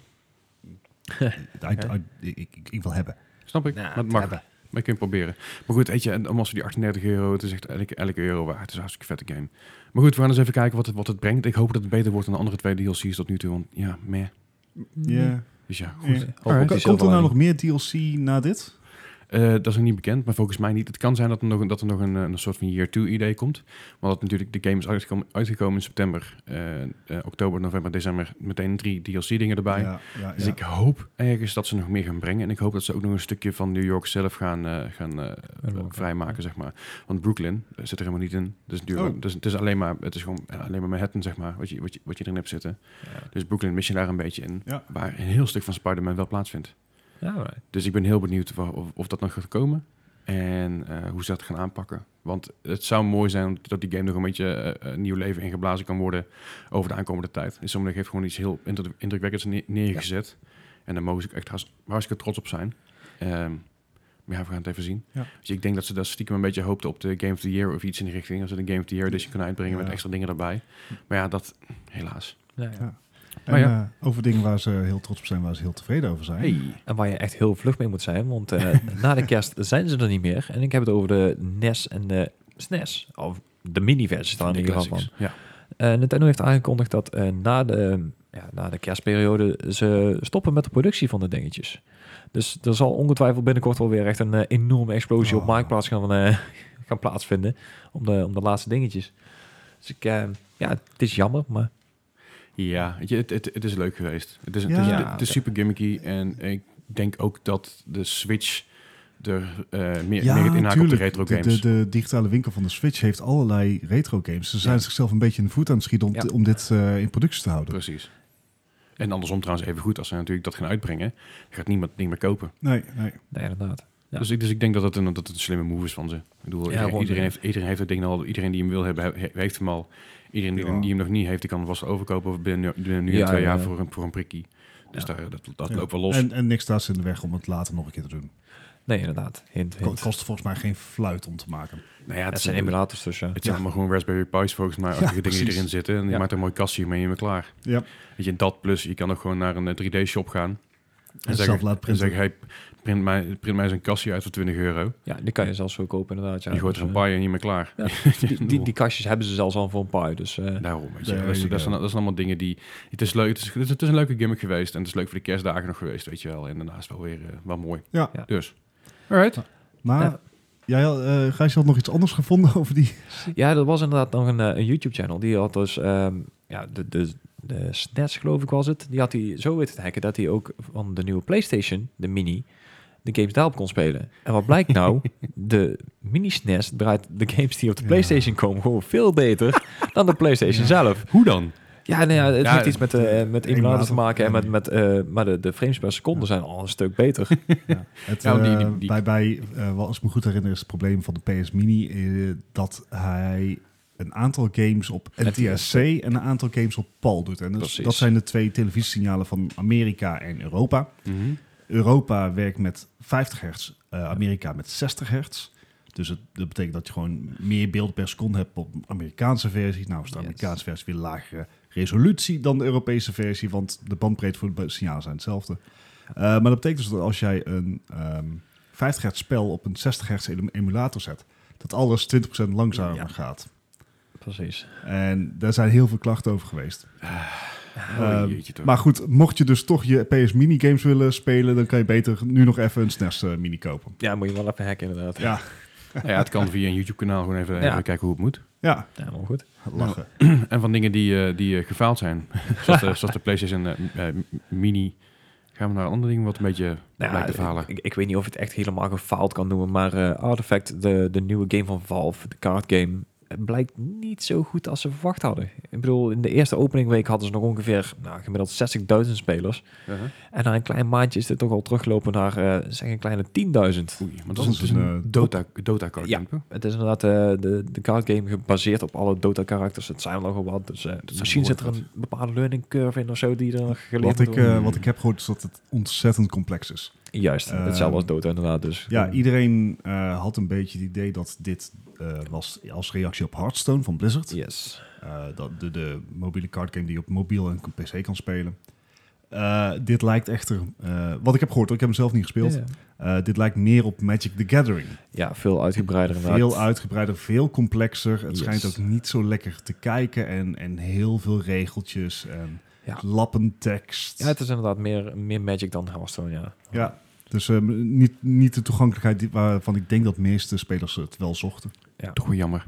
I- I- ik, ik, ik wil hebben. Snap ik. Nou, maar het mag. Maar je kunt het proberen. Maar goed, weet je, en als we die 38 euro, het is echt elke, elke euro waard. Het is een hartstikke vette game. Maar goed, we gaan eens even kijken wat het, wat het brengt. Ik hoop dat het beter wordt dan de andere twee DLC's tot nu toe. Want ja, meh. Ja. Dus ja, goed. Ja. Alright. Ko- Die Komt er nou Silverlining. nog meer DLC na dit? Eh, dat is nog niet bekend, maar volgens mij niet. Het kan zijn dat er nog, een- dat er nog een, eh, een soort van year 2 idee komt. Want dat natuurlijk, de game is uitgekomen, uitgekomen in september, eh, eh, oktober, november, december. Meteen drie DLC dingen erbij. Ja, ja, Dus ja. ik hoop ergens dat ze nog meer gaan brengen. En ik hoop dat ze ook nog een stukje van New York zelf gaan, eh, gaan eh, Unlocken. vrijmaken, zeg maar. Want Brooklyn eh, zit er helemaal niet in. Dus, New York, Oh. dus het is alleen maar, het is gewoon eh, alleen maar Manhattan, zeg maar, wat je, wat je, wat je erin hebt zitten. Dus Brooklyn mis je daar een beetje in. Ja. Waar een heel stuk van Spider-Man wel plaatsvindt. Ja, alright. Dus ik ben heel benieuwd wa- of, of dat nog gaat komen. En eh, hoe ze dat gaan aanpakken. Want het zou mooi zijn dat die game nog een beetje eh, eh, nieuw leven ingeblazen kan worden over de aankomende tijd. En sommige heeft gewoon iets heel indru- indrukwekkends ne- neergezet. En daar mogen ze ook echt haast- hartstikke trots op zijn. Ehm, maar ja, we gaan het even zien. Ja. Dus ik denk dat ze daar stiekem een beetje hoopten op de Game of the Year of iets in die richting. Als ze de Game of the Year edition kunnen uitbrengen Ja. met extra dingen erbij. Maar ja, dat helaas. Nou Ja, ja. Ja. En, Maar ja. eh, over dingen waar ze heel trots op zijn, waar ze heel tevreden over zijn. En waar je echt heel vlug mee moet zijn, want eh, na de kerst zijn ze er niet meer. En ik heb het over de NES en de SNES, of de mini-versie daar in Die ieder geval van. classics. Ja. Eh, Nintendo heeft aangekondigd dat eh, na, de, ja, na de kerstperiode ze stoppen met de productie van de dingetjes. Dus er zal ongetwijfeld binnenkort wel weer echt een eh, enorme explosie op Oh. marktplaats gaan, eh, gaan plaatsvinden om de, om de laatste dingetjes. Dus ik, eh, ja, het is jammer, maar Ja, weet je, het, het, het is leuk geweest. Het is, Ja. het is, Ja, het is super gimmicky. En ik denk ook dat de Switch er eh, meer, meer het inhaakt op de tuurlijk. retro de, games. de, de digitale winkel van de Switch heeft allerlei retro games. Ze zijn Ja. zichzelf een beetje in de voet aan het schieten om, Ja. om dit eh, in productie te houden. Precies. En andersom trouwens even goed. Als ze natuurlijk dat gaan uitbrengen, gaat niemand het niet meer kopen. Nee, nee. nee, inderdaad. Ja. Dus, ik, dus ik denk dat het een, dat het een slimme move is van ze. Ik bedoel, iedereen, want- iedereen heeft, iedereen heeft het ding al. Iedereen die hem wil hebben, he- heeft hem al. Iedereen die, Ja. die hem nog niet heeft, die kan hem vast overkopen of binnen, binnen nu Ja, en twee ja, jaar ja. voor een, voor een prikkie. Dus daar, dat, dat Ja. loopt wel los. En, en niks staat ze in de weg om het later nog een keer te doen. Nee, inderdaad. Hint, Ko- Het hint. kost volgens mij geen fluit om te maken. nou ja, Het zijn emulators dus, ja. Het Ja. zijn allemaal gewoon Raspberry Pi's volgens mij, achtige dingen die precies. erin zitten. En je Ja. maakt er een mooi kastje mee en je bent klaar. Ja. Weet je, dat plus, je kan ook gewoon naar een eh, 3D-shop gaan. En, zelf zeggen, laten en printen. zeggen, hey, print mij, print mij zo'n kastje uit voor 20 euro. Ja, die kan je zelfs zo kopen inderdaad. Ja. je gooit er Dus, een eh, paar en je bent klaar. Ja. Die, die, die kastjes hebben ze zelfs al voor een paar. Dus eh, Daarom, weet je. There Dat, is- you dat, go. zijn, dat zijn allemaal dingen die... Het is leuk, het is, het is- het is een leuke gimmick geweest. En het is leuk voor de kerstdagen nog geweest, weet je wel. En daarnaast wel weer eh, wel mooi. Ja. Ja. Dus, alright. Maar Ja. jij, eh Gijs, je had nog iets anders gevonden over die... ja, dat was inderdaad nog een, eh, een YouTube-channel. Die had dus, ehm, ja, de, de, de SNES geloof ik was het. Die had hij zo weten te hacken dat hij ook van de nieuwe PlayStation, de Mini, de games daarop kon spelen. En wat blijkt nou? de Mini SNES draait de games die op de Ja. PlayStation komen gewoon veel beter dan de PlayStation zelf. Hoe dan? Ja, nou ja, het Ja, heeft iets met, eh met emulators te maken. En met, met, eh, maar de, de frames per seconde zijn al een stuk beter. Het, Ja, Nou, die- eh, die- die- bij, bij, eh, wel, als ik me goed herinner, is het probleem van de PS Mini eh, dat hij een aantal games op NTSC en een aantal games op PAL doet. En dus, Precies. dat zijn de twee televisiesignalen van Amerika en Europa. Mhm. Europa werkt met 50 hertz, eh, Amerika met 60 hertz. Dus het, dat betekent dat je gewoon meer beeld per seconde hebt op de Amerikaanse versie. Nou is de Yes. Amerikaanse versie weer lagere resolutie dan de Europese versie, want de bandbreedte voor de signalen zijn hetzelfde. Eh, maar dat betekent dus dat als jij een ehm 50 hertz spel op een 60 hertz em- emulator zet, dat alles 20% langzamer Ja. gaat. Precies. En daar zijn heel veel klachten over geweest. oh, Ehm, jeetje toch. Maar goed, mocht je dus toch je PS Mini games willen spelen, dan kan je beter nu nog even een SNES eh, Mini kopen. Ja, moet je wel even hacken inderdaad. Ja. Nou ja, het kan via een YouTube-kanaal gewoon even, Ja. even kijken hoe het moet. Ja, Ja, maar goed. lachen. Nou, En van dingen die, eh, die eh, gefaald zijn. zoals, de, zoals de PlayStation eh, eh, Mini. Gaan we naar een ander ding wat een beetje Nou, lijkt te falen. ik, ik weet niet of je het echt helemaal gefaald kan noemen, maar eh, Artifact, de, de nieuwe game van Valve, de card game, het blijkt niet zo goed als ze verwacht hadden. Ik bedoel, in de eerste openingweek hadden ze nog ongeveer nou, gemiddeld 60.000 spelers. Uh-huh. En na een klein maandje is dit toch al teruglopen naar eh, zeg een kleine 10.000. Oei, maar Dat dat is is een, een, eh, Dota, Dota card Ja. game, toch? Het is inderdaad eh, de, de card game gebaseerd op alle Dota-karakters. Het zijn er nogal wat, dus eh, misschien zit er een behoorlijk bepaalde learning curve in of zo die er nog geleerd Wat ik, moet eh, worden. wat ik heb gehoord is dat het ontzettend complex is. Juist, eh, hetzelfde als Dota inderdaad. Dus, Ja, iedereen eh, had een beetje het idee dat dit eh, was als reactie op Hearthstone van Blizzard. Yes. Eh, dat de, de mobiele card game die je op mobiel en PC kan spelen. Eh, dit lijkt echter, eh, wat ik heb gehoord, hoor, ik heb hem zelf niet gespeeld. Ja. Eh, dit lijkt meer op Magic the Gathering. Ja, veel uitgebreider inderdaad. Veel uitgebreider, veel complexer. Het Yes. schijnt ook niet zo lekker te kijken. En, en heel veel regeltjes en Ja. lappen tekst. Ja, het is inderdaad meer, meer Magic dan Hearthstone, ja. Ja, dus eh, niet, niet de toegankelijkheid die, waarvan ik denk dat de meeste spelers het wel zochten. Toch wel jammer.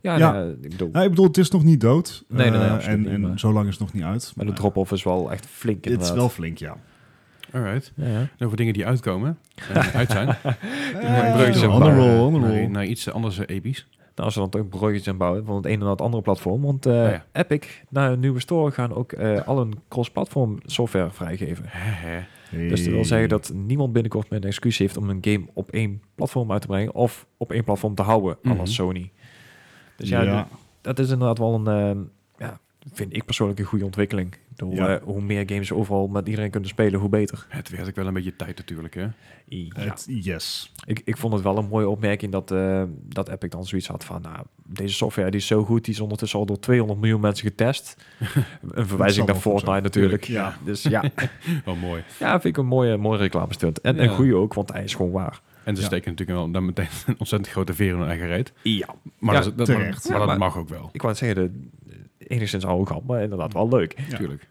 Ja, Ja. nee, eh, ik bedoel, Nou, ik bedoel, het is nog niet dood. Nee, nee, nee, Eh, absoluut en, niet, en maar- zo lang is het nog niet uit. maar de drop-off is wel echt flink Dit is inderdaad. wel flink, ja. Alright. Ja, ja. En over dingen die uitkomen. eh, uit zijn. Eh, Breukjes en honor bar, roll, eh, honor naar- roll. Naar iets anders eh, episch. Nou, ze dan toch bruggetjes aan bouwen van het ene naar het andere platform. Want eh, Oh ja. Epic, naar een nieuwe store, gaan ook eh, al een cross-platform software vrijgeven. Hehe. Dus dat wil Hey. zeggen dat niemand binnenkort meer een excuus heeft om een game op één platform uit te brengen of op één platform te houden, à la Mhm. Sony. Dus ja, Ja. d- dat is inderdaad wel een, eh, ja, vind ik persoonlijk een goede ontwikkeling. Ik bedoel, Ja. eh, hoe meer games overal met iedereen kunnen spelen, hoe beter. Het werd ook wel een beetje tijd natuurlijk, hè? Ja. Het, yes. Ik, ik vond het wel een mooie opmerking dat, eh, dat Epic dan zoiets had van... Nou, deze software die is zo goed, die is ondertussen al door 200 miljoen mensen getest. een zal verwijzing wel naar goed Fortnite zijn. natuurlijk. Ja. Dus ja, Wel mooi. ja, vind ik een mooie, mooie reclamestunt. En een Ja. goede ook, want hij is gewoon waar. En ze Ja. steken natuurlijk wel dan meteen een ontzettend grote veer in hun eigen reet. Ja, Maar, Ja, dat, is- dat, maar, terecht. maar Ja, dat maar- mag ook wel. ik wou het zeggen, de, enigszins arrogant, maar inderdaad wel leuk. Ja. Tuurlijk.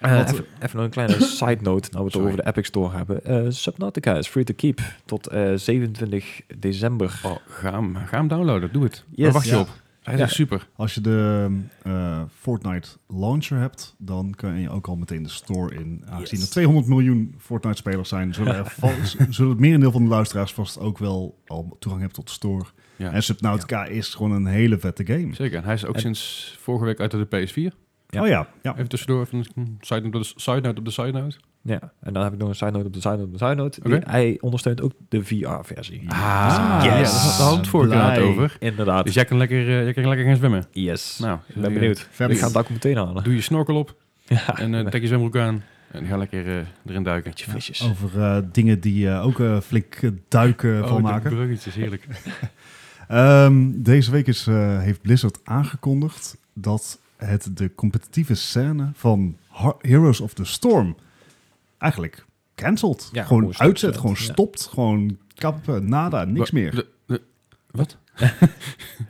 Eh, Wat- even, even nog een kleine side note, nou we het Sorry. over de Epic Store hebben. Eh, Subnautica is free to keep tot eh, 27 december. Oh, ga, hem, ga hem downloaden. Doe het. Yes. Waar wacht je Ja. op? Hij is Ja. echt super. Als je de eh, Fortnite launcher hebt, dan kan je ook al meteen de store in. Aangezien Yes. er 200 miljoen Fortnite-spelers zijn, zullen, er vast- zullen het merendeel van de luisteraars vast ook wel al toegang hebben tot de store. Ja. En Subnautica is gewoon een hele vette game. Zeker. En hij is ook En- sinds vorige week uit de PS4. Ja. Oh ja, ja. Even tussendoor, even een side note op de side note. Op de side note. Ja, en dan heb ik nog een side note op de side note op de side note. Die- Oké. Hij ondersteunt ook de VR-versie. Ah, Yes. ja, dat had- daar hadden we het vorige keer Blij. inderdaad over. Inderdaad. Dus jij kan lekker, eh, jij kan lekker gaan zwemmen. yes. Nou, ik ben benieuwd. Vet. Ik ga het ook meteen halen. Doe je snorkel op Ja. en eh trek je zwembroek aan. En ga lekker eh, erin duiken. Beetje frisjes. Over eh, dingen die eh, ook eh, flink eh, duiken Oh, van de maken. bruggetjes, heerlijk. Ehm, deze week is, eh, heeft Blizzard aangekondigd dat het de competitieve scène van Har- Heroes of the Storm eigenlijk cancelt. Ja, gewoon gewoon stopt, uitzet, ja. gewoon Ja. stopt, gewoon kappen, nada, niks Wa- meer. de- de- Wat? oh,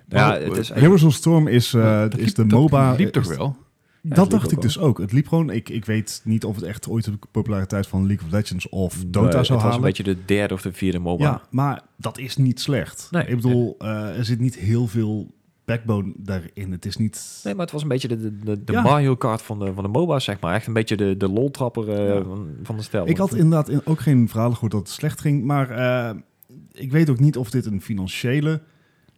ja, het is echt... Heroes of the Storm is, eh, Dat is liep- de dat MOBA. liep toch is- wel? het dat liep dacht ook ik wel. dus ook. Het liep gewoon, ik, ik weet niet of het echt ooit de populariteit van League of Legends of Dota Nee, zou Het was halen. een beetje de derde of de vierde MOBA. Ja, maar dat is niet slecht. Nee. ik bedoel, eh, er zit niet heel veel backbone daarin. Het is niet... Nee, maar het was een beetje de, de, de, de Ja. Mario Kart van de, van de MOBA's, zeg maar. Echt een beetje de, de loltrapper eh, Ja. van, van de stijl. Ik had inderdaad in- ook geen verhalen gehoord dat het slecht ging. Maar eh, ik weet ook niet of dit een financiële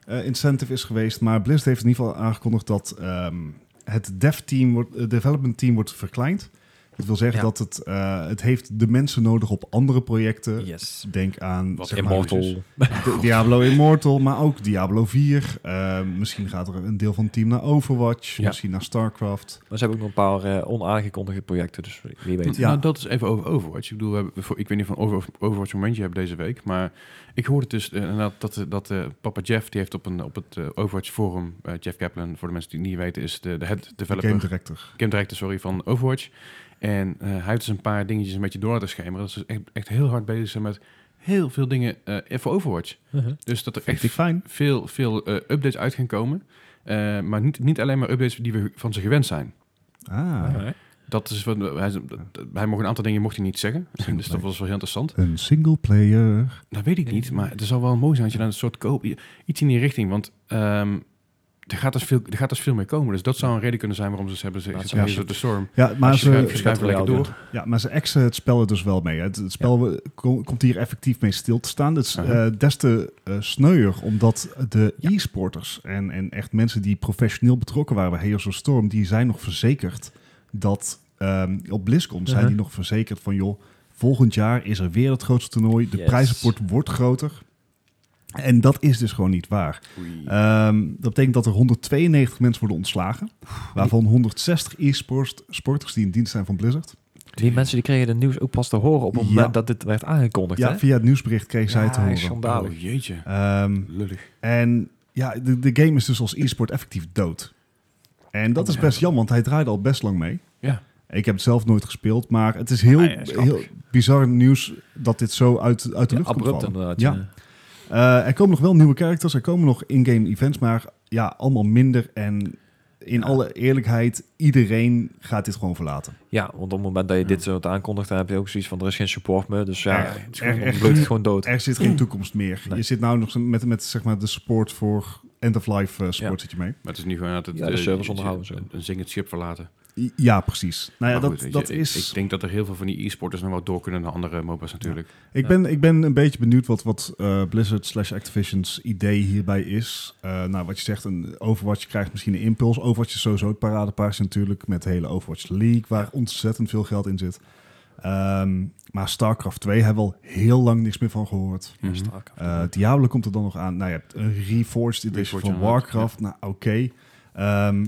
eh, incentive is geweest. Maar Blizzard heeft in ieder geval aangekondigd dat ehm, het dev team wordt, eh, development team wordt verkleind. Het wil zeggen Ja. dat het, eh, het heeft de mensen nodig op andere projecten. Yes. Denk aan Wat zeg maar, Immortal. D- Diablo Immortal, maar ook Diablo 4. Eh, misschien gaat er een deel van het team naar Overwatch, Ja. misschien naar StarCraft. Maar ze hebben ook nog een paar eh, onaangekondigde projecten, dus wie weet. Ja. Nou, dat is even over Overwatch. Ik bedoel, we hebben voor, ik weet niet van over, Overwatch momentje hebben deze week, maar ik hoorde dus eh, inderdaad dat, eh, dat eh, papa Jeff, die heeft op, een, op het eh, Overwatch forum, eh, Jeff Kaplan, voor de mensen die het niet weten, is de, de head developer, Game game, Director. director, sorry, van Overwatch. En eh, hij heeft dus een paar dingetjes een beetje door laten schemeren. Dat ze echt, echt heel hard bezig zijn met heel veel dingen eh voor Overwatch. Mhm. Dus dat er Vind ik echt fijn. veel, veel eh, updates uit gaan komen. Eh, maar niet, niet alleen maar updates die we van ze gewend zijn. Ah, Alright. Dus Dat is wat, hij, hij mocht een aantal dingen mocht hij niet zeggen. Dus dat was wel heel interessant. een single player. Dat weet ik niet, maar het zou wel mooi zijn als je dan een soort koop... Iets in die richting, want ehm, er, gaat dus veel, er gaat dus veel meer komen. Dus dat zou een reden kunnen zijn waarom ze het hebben ze Ja, ze- ja. ze- de storm. Ja, maar als je schuift, ze, je schuift lekker Materiaal door. ja, maar ze exen het spel er dus wel mee. hè. Het, het spel eh, kom- komt hier effectief mee stil te staan. Het is Aha. eh, des te eh, sneuier, omdat de e-sporters en, en echt mensen die professioneel betrokken waren bij Heroes of Storm, die zijn nog verzekerd dat ehm, op BlizzCon zijn Aha. die nog verzekerd van joh, volgend jaar is er weer het grootste toernooi, de Yes. prijzenport wordt groter. En dat is dus gewoon niet waar. Eh, Ehm, dat betekent dat er 192 mensen worden ontslagen. Waarvan 160 e-sporters die in dienst zijn van Blizzard. Die mensen die kregen het nieuws ook pas te horen op het Ja. moment dat dit werd aangekondigd. Ja, hè? via het nieuwsbericht kregen zij Ja, te horen. Schandalig. Oh, jeetje. Ehm, Lullig. en ja, de, de game is dus als e-sport effectief dood. En dat is best jammer, want hij draaide al best lang mee. Ja. Ik heb het zelf nooit gespeeld, maar het is heel, Ah ja, schattig. heel bizar nieuws dat dit zo uit, uit de Ja, lucht komt abrupt vallen. inderdaad. Ja. Eh, er komen nog wel nieuwe characters, er komen nog in-game events, maar ja, allemaal minder. En in alle eerlijkheid, iedereen gaat dit gewoon verlaten. Ja, want op het moment dat je dit zo aankondigt, dan heb je ook zoiets van, er is geen support meer. Dus ja, Echt, het is gewoon, echt, echt. bloeit het gewoon dood. Er zit geen toekomst meer. Nee. Je zit nou nog met, met zeg maar, de support voor end-of-life eh, support zit je mee. Maar het is nu gewoon dat het, Ja, de eh, servers onderhouden, zo. Nou Een, een zingend schip verlaten. I- Ja, precies. Nou ja, Maar dat, goed, weet je, dat ik- is... Ik, denk dat er heel veel van die e-sporters nog wel door kunnen naar andere MOBA's natuurlijk. Ik ben, ik ben een beetje benieuwd wat, wat eh, Blizzard slash Activision's idee hierbij is. Eh, nou, wat je zegt, een Overwatch krijgt misschien een impuls. Overwatch is sowieso het paradepaardje natuurlijk met de hele Overwatch League, waar ontzettend veel geld in zit. Ehm, maar StarCraft 2 hebben we al heel lang niks meer van gehoord. Mhm. Eh, Diablo komt er dan nog aan. Nou, je hebt een Reforged Edition Reforged, van inderdaad, Warcraft. Nou, oké. Ehm,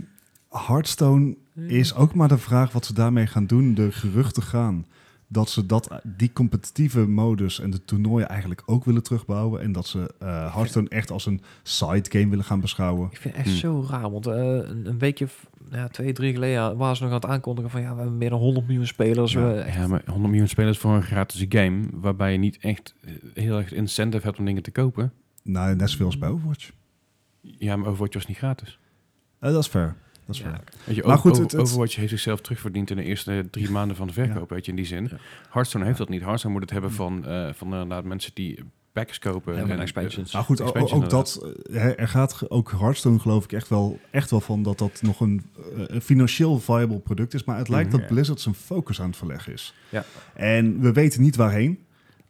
Hearthstone is ook maar de vraag wat ze daarmee gaan doen. De geruchten gaan dat ze dat, die competitieve modus en de toernooien eigenlijk ook willen terugbouwen. En dat ze eh, Hearthstone echt als een side game willen gaan beschouwen. Ik vind het echt Hmm. zo raar, want eh, een, een weekje, of, ja, twee, drie geleden waren ze nog aan het aankondigen van ja, we hebben meer dan 100 miljoen spelers. Ja, we- echt- Eh, ja, maar 100 miljoen spelers voor een gratis game, waarbij je niet echt eh, heel erg incentive hebt om dingen te kopen. Nou, net zoveel als bij Overwatch. Ja, maar Overwatch was niet gratis. Eh, dat is fair. Dat is Ja. fair. Weet je, Maar over- goed, over- het- het- Overwatch heeft zichzelf terugverdiend in de eerste drie maanden van de verkoop, weet je, in die zin. Ja. Hearthstone heeft dat niet. Hearthstone moet het Hm. hebben van, eh, van inderdaad mensen die packs kopen. en, eh, expansions. Nou goed, o- Expansion ook dat. eh, hè, Er gaat ge- ook Hearthstone geloof ik echt wel, echt wel van dat dat nog een, eh, een financieel viable product is. Maar het lijkt Mhm. dat Blizzard zijn focus aan het verleggen is. Ja. Mhm. En we weten niet waarheen.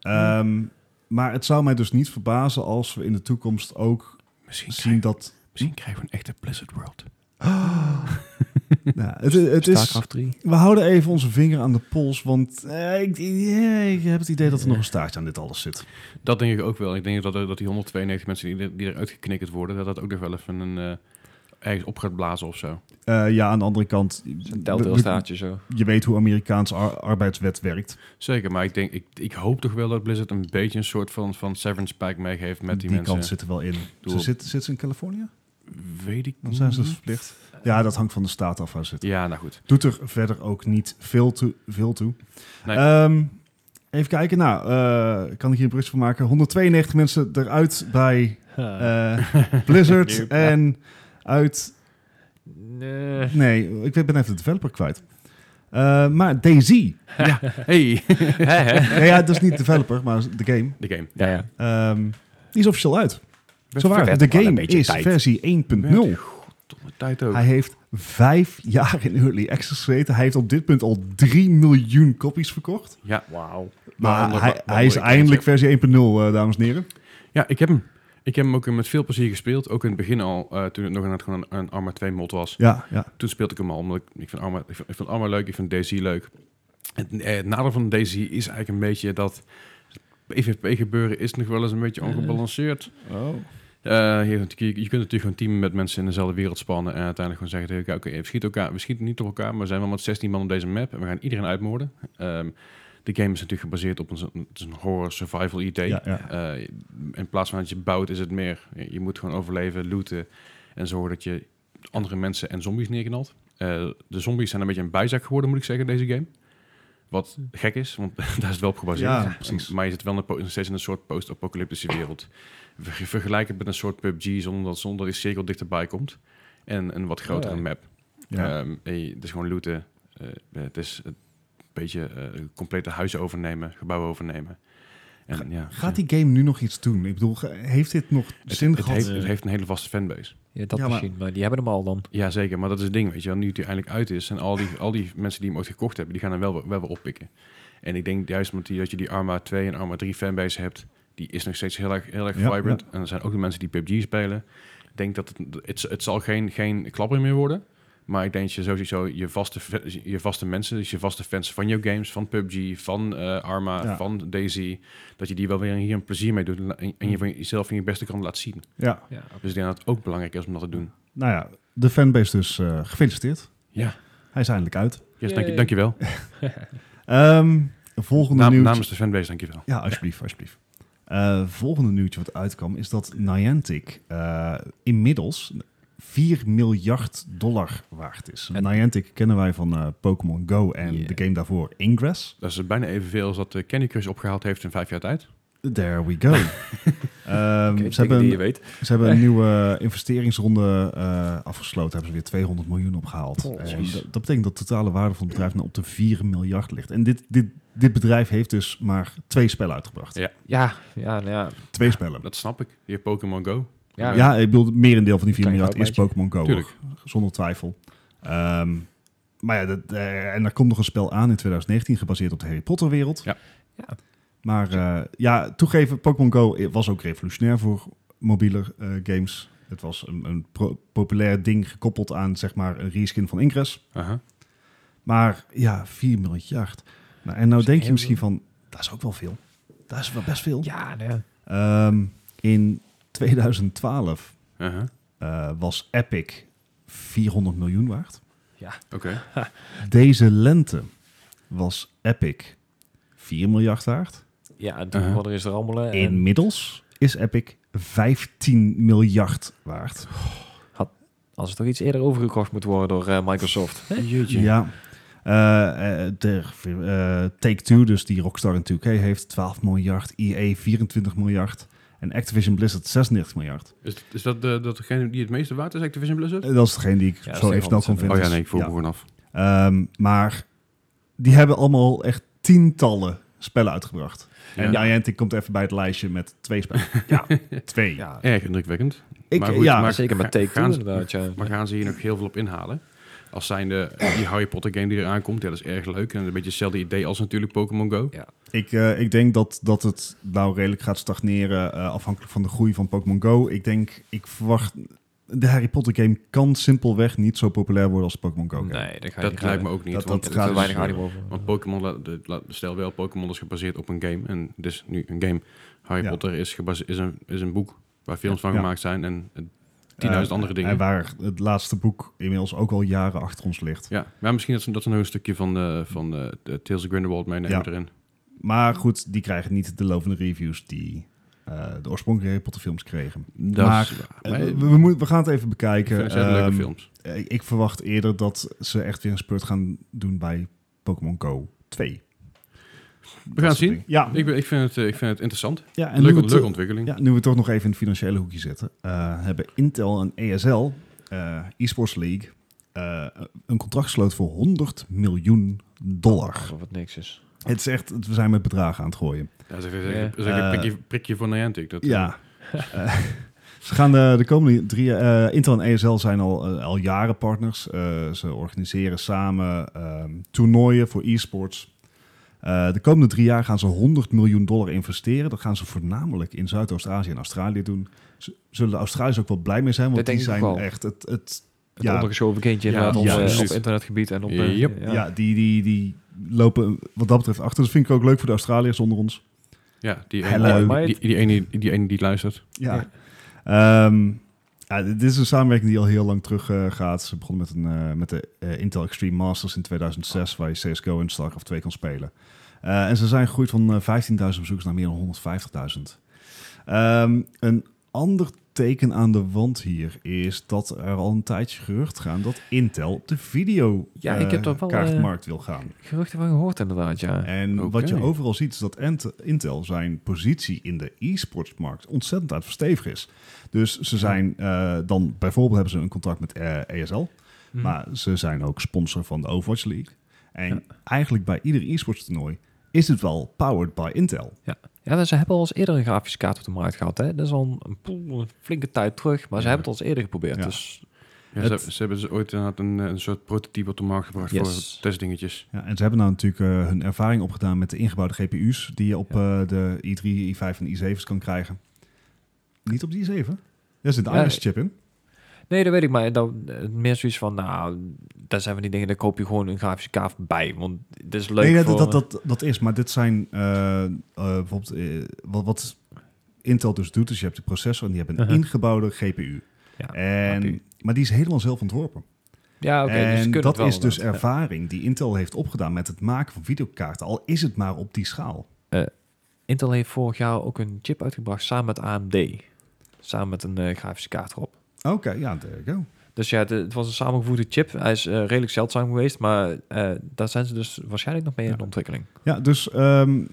Ehm, Maar het zou mij dus niet verbazen als we in de toekomst ook misschien, zien krijgen, dat... misschien krijgen we een echte Blizzard World. Nou, het, het is, StarCraft 3. we houden even onze vinger aan de pols, want eh, ik, eh, ik heb het idee dat er nog een staartje aan dit alles zit. Dat denk ik ook wel. Ik denk dat, er- dat die 192 mensen die, er- die eruit geknikkerd worden, dat dat ook nog wel even een, eh, ergens op gaat blazen of zo. Eh, ja, aan de andere kant, Een we- telltale we- staartje zo. je weet hoe Amerikaans ar- arbeidswet werkt. Zeker, maar ik, denk, ik, ik hoop toch wel dat Blizzard een beetje een soort van, van severance pack meegeeft met die, mensen. kant zit er wel in. Doe Ze op. zit, zit ze in Californië? Weet ik Dan zijn ze dus niet. verplicht. Ja, dat hangt van de staat af waar ze zitten. Ja, nou goed. Doet er verder ook niet veel toe. Veel toe. Nee. Ehm, even kijken. Nou, eh, kan ik hier een brug van maken? 192 mensen eruit bij eh, Blizzard. Nope. en uit... Nee. Nee, ik ben even de developer kwijt. Eh, maar DayZ. Hey! nee, ja, dat is niet developer, maar de game. De game. Ja, ja. Ehm, die is officieel uit. Zo waar, vet, de maar een game beetje is tijd. versie 1.0. Domme tijd ook. Hij heeft vijf jaar in early access gezeten. Hij heeft op dit punt al 3 miljoen kopies verkocht. Ja, Wauw. Maar Waaronder- hij, waaronder hij is ik eindelijk deze. versie 1.0, eh, dames en heren. Ja, ik heb hem. Ik heb hem ook met veel plezier gespeeld. Ook in het begin al, eh, toen het nog inderdaad gewoon een, een Arma 2 mod was. Ja, ja. Toen speelde ik hem al, omdat ik, ik, vind Arma, ik, vind, ik vind Arma leuk, ik vind DC leuk. Het, eh, het nadeel van Daisy is eigenlijk een beetje dat het PvP-gebeuren is nog wel eens een beetje ongebalanceerd. Oh. Eh, je, hebt natuurlijk- je kunt natuurlijk gewoon teamen met mensen in dezelfde wereld spannen en uiteindelijk gewoon zeggen, tegen elkaar, oké, we, schieten elkaar, we schieten niet op elkaar, maar we zijn wel met 16 man op deze map en we gaan iedereen uitmoorden. Ehm, de game is natuurlijk gebaseerd op een, het is een horror survival idee. Ja, ja. Eh, in plaats van dat je bouwt, is het meer. Je je moet gewoon overleven, looten en zorgen dat je andere mensen en zombies neerknalt. Eh, de zombies zijn een beetje een bijzaak geworden, moet ik zeggen, deze game. Wat gek is, want daar is het wel op gebaseerd. Ja, precies. maar je zit wel in een po- nog steeds in een soort post-apocalyptische wereld. Ver- Vergelijk het met een soort PUBG zonder dat, zonder dat die cirkel dichterbij komt. En een wat grotere Ja. map. Oh Ja. Ehm, en je- het is gewoon looten. Eh, het is een beetje eh, complete huizen overnemen, gebouwen overnemen. En, ja, Gaat die game nu nog iets doen? Ik bedoel, ge- heeft dit nog het, zin het gehad? eh? heeft, het heeft een hele vaste fanbase. Ja, dat Ja, maar- misschien, maar... die hebben hem al dan. Ja, zeker. Maar dat is het ding, weet je wel. Nu het er eindelijk uit is en al die, al die mensen die hem ooit gekocht hebben, die gaan hem wel, wel weer oppikken. En ik denk juist omdat die, dat je die Arma 2 en Arma 3 fanbase hebt, die is nog steeds heel erg, heel erg Ja, vibrant. En er zijn ook de mensen die PUBG spelen. Ik denk dat het, het, het zal geen, geen klapper meer worden. Maar ik denk dat je sowieso je vaste, fa- je vaste mensen, dus je vaste fans van jouw games, van PUBG, van eh, Arma, Ja. van Daisy, dat je die wel weer hier een plezier mee doet en, en Mm. je van jezelf in je beste kant laat zien. Ja, Ja, Dus ik denk dat het ook belangrijk is om dat te doen. nou ja, de fanbase dus eh, gefeliciteerd. Ja, Hij is eindelijk uit. yes, dank, je- Yay. dank je wel. Ehm, volgende Naam- nieuws. Namens de fanbase, dankjewel. Ja, alsjeblieft, alsjeblieft. Eh, volgende nieuwtje wat uitkwam is dat Niantic eh, inmiddels 4 miljard dollar waard is. En- Niantic kennen wij van eh, Pokémon Go en Yeah. de game daarvoor Ingress. Dat is bijna evenveel als dat eh, Candy Crush opgehaald heeft in vijf jaar tijd. There we go. Ehm, ze, Oké, dingen hebben die je een, weet. ze hebben een nieuwe eh, investeringsronde eh, afgesloten. Hebben ze weer 200 miljoen opgehaald. Oh, En jeez. dat, dat betekent dat de totale waarde van het bedrijf nou op de 4 miljard ligt. En dit, dit, dit bedrijf heeft dus maar twee spellen uitgebracht. Ja. Ja, ja, nou ja. Twee spellen. Dat snap ik. Je hebt Pokémon Go. Ja, Ja, ik bedoel, het merendeel van die 4 Klein miljard is houtlijntje. Pokémon Go. Tuurlijk. hoor. Zonder twijfel. Ehm, maar ja, dat, eh, en er komt nog een spel aan in 2019 gebaseerd op de Harry Potter wereld. Ja. Ja. Maar eh, ja, toegeven, Pokémon Go was ook revolutionair voor mobiele eh, games. Het was een, een pro- populair ding gekoppeld aan zeg maar een reskin van Ingress. Aha. Maar ja, 4 miljard. Nou, en nou is denk je heel misschien van, dat is ook wel veel. Dat is wel best veel. Ja, nou ja. Ehm, in 2012 Aha. eh, was Epic 400 miljoen waard. Oké. Deze lente was Epic 4 miljard waard. Ja, en toen Uh-huh. kwam er eens rammelen. En Inmiddels is Epic 15 miljard waard. als er toch iets eerder overgekocht moet worden door eh, Microsoft. Hè? Jeetje. Ja. Eh, eh, de, eh, Take-Two, dus die Rockstar in 2K, heeft 12 miljard. EA 24 miljard. En Activision Blizzard 36 miljard. Is, is dat eh, datgene die het meeste waard is, Activision Blizzard? Eh, Dat is degene die ik Ja, dat zo is even snel kon honderd, vinden. oh ja, nee, ik voel Ja. me gewoon af. Ehm, maar die hebben allemaal echt tientallen spellen uitgebracht. En Ja. Niantic komt even bij het lijstje met twee spellen. ja, twee. Ja, Erg indrukwekkend. Ik, Maar goed, ja, maar- zeker met ga- Take-Two gaan ze- inderdaad. Ja. Maar gaan ze hier nog heel veel op inhalen? Als zijnde eh, die Harry Potter game die eraan komt. Ja, dat is erg leuk. En een beetje hetzelfde idee als natuurlijk Pokémon Go. ik, eh, ik denk dat, dat het nou redelijk gaat stagneren eh, afhankelijk van de groei van Pokémon Go. Ik denk, ik verwacht... De Harry Potter game kan simpelweg niet zo populair worden als de Pokémon Go game. Nee, dat ga je Dat niet lijkt me redden. ook niet. Dat- want dat Er het gaat gaat is- dus- weinig animo over. Want Pokémon, la- de- la- stel wel, Pokémon is gebaseerd op een game. En dus nu een game. Harry Ja. Potter is, gebase- is, een, is een boek waar films van Ja. gemaakt zijn. En eh, 10.000 Eh, andere dingen. En waar het laatste boek inmiddels ook al jaren achter ons ligt. Ja, maar misschien dat ze, dat ze nog een stukje van, eh van eh, de Tales of Grindelwald meenemen Ja. erin. Maar goed, die krijgen niet de lovende reviews die eh, de oorspronkelijke Harry Potter films kregen. Dat maar is waar. Eh, Maar we, ik we moeten- we gaan het even bekijken. vind het hele leuke Ehm, films. eh, Ik verwacht eerder dat ze echt weer een spurt gaan doen bij Pokémon Go 2. We gaan het zien. Ja, Ik, ben- ik, vind het, eh, ik vind het interessant. ja en nu, Leuke, we to- leuke ontwikkeling. ja, nu we toch nog even in het financiële hoekje zitten, eh, hebben Intel en ESL, eh eSports League, eh, een contract gesloten voor 100 miljoen dollar. Alsof het niks is. Het is echt, we zijn met bedragen aan het gooien. Dat is even- even- Ja. dat is even Eh, een prikje, prikje voor Niantic. Dat, Ja. Eh, ze gaan de, de komende drie jaar... eh, Intel en ESL zijn al, eh, al jaren partners. Eh, ze organiseren samen ehm, toernooien voor e-sports. Eh, de komende drie jaar gaan ze 100 miljoen dollar investeren. Dat gaan ze voornamelijk in Zuidoost-Azië en Australië doen. Z- zullen de Australiërs ook wel blij mee zijn, want Dat denk die ik zijn ook wel. echt het... het Het ja, ondergeschoven kindje Ja, inderdaad op, ja, eh, precies. op internetgebied en op... eh, Yep. ja. die, die, die lopen wat dat betreft achter. Dat vind ik ook leuk voor de Australiërs onder ons. Ja, die, Hello, ene, mate. die, die, ene, die ene die luistert. Ja. Ehm, ja, dit is een samenwerking die al heel lang terug eh, gaat. Ze begonnen met, een, eh, met de eh, Intel Extreme Masters in 2006, waar je CSGO en StarCraft 2 kon spelen. Eh, en ze zijn gegroeid van eh, 15.000 bezoekers naar meer dan 150.000. Ehm, een ander teken aan de wand hier is dat er al een tijdje gerucht gaan dat Intel op de video Ja, ik heb eh, daar wel, eh, kaartmarkt wil gaan. Geruchten van gehoord inderdaad, ja. En Oké. wat je overal ziet is dat Ent- Intel zijn positie in de e-sportsmarkt ontzettend aan het verstevigen is. Dus ze zijn eh, dan bijvoorbeeld hebben ze een contract met eh, ESL, Hm. maar ze zijn ook sponsor van de Overwatch League. En Ja. eigenlijk bij ieder e-sports toernooi is het wel powered by Intel. Ja, maar ze hebben al eens eerder een grafische kaart op de markt gehad. Hè? Dat is al een, poel- een flinke tijd terug, maar ze Ja. hebben het al eens eerder geprobeerd. Ja. Dus Ja, Het- ze, ze hebben dus ooit inderdaad een, eh, een soort prototype op de markt gebracht Yes. voor testdingetjes. Ja, en ze hebben nou natuurlijk eh, hun ervaring opgedaan met de ingebouwde GPU's die je op eh, de i3, i5 en i7's kan krijgen. Niet op de i7. Daar zit een Ja, Iris chip in. nee, dat weet ik. Maar dan, eh, meer zoiets van, nou, daar zijn van die dingen, daar koop je gewoon een grafische kaart bij. Want het is leuk nee, ja, voor... dat, dat, dat, dat is. Maar dit zijn eh, eh, bijvoorbeeld eh, wat, wat Intel dus doet, is je hebt de processor en die hebben een Uh-huh. ingebouwde GPU. Ja, en, GPU. Maar die is helemaal zelf ontworpen. Ja, oké. dus ze en kunnen dat het wel is dus inderdaad. ervaring die Intel heeft opgedaan met het maken van videokaarten, al is het maar op die schaal. Intel heeft vorig jaar ook een chip uitgebracht samen met AMD. Samen met een eh, grafische kaart erop. Oké, ja, there you go. Dus ja, het, het was een samengevoegde chip. Hij is eh, redelijk zeldzaam geweest, maar eh, daar zijn ze dus waarschijnlijk nog mee in de ontwikkeling. Ja, dus ehm,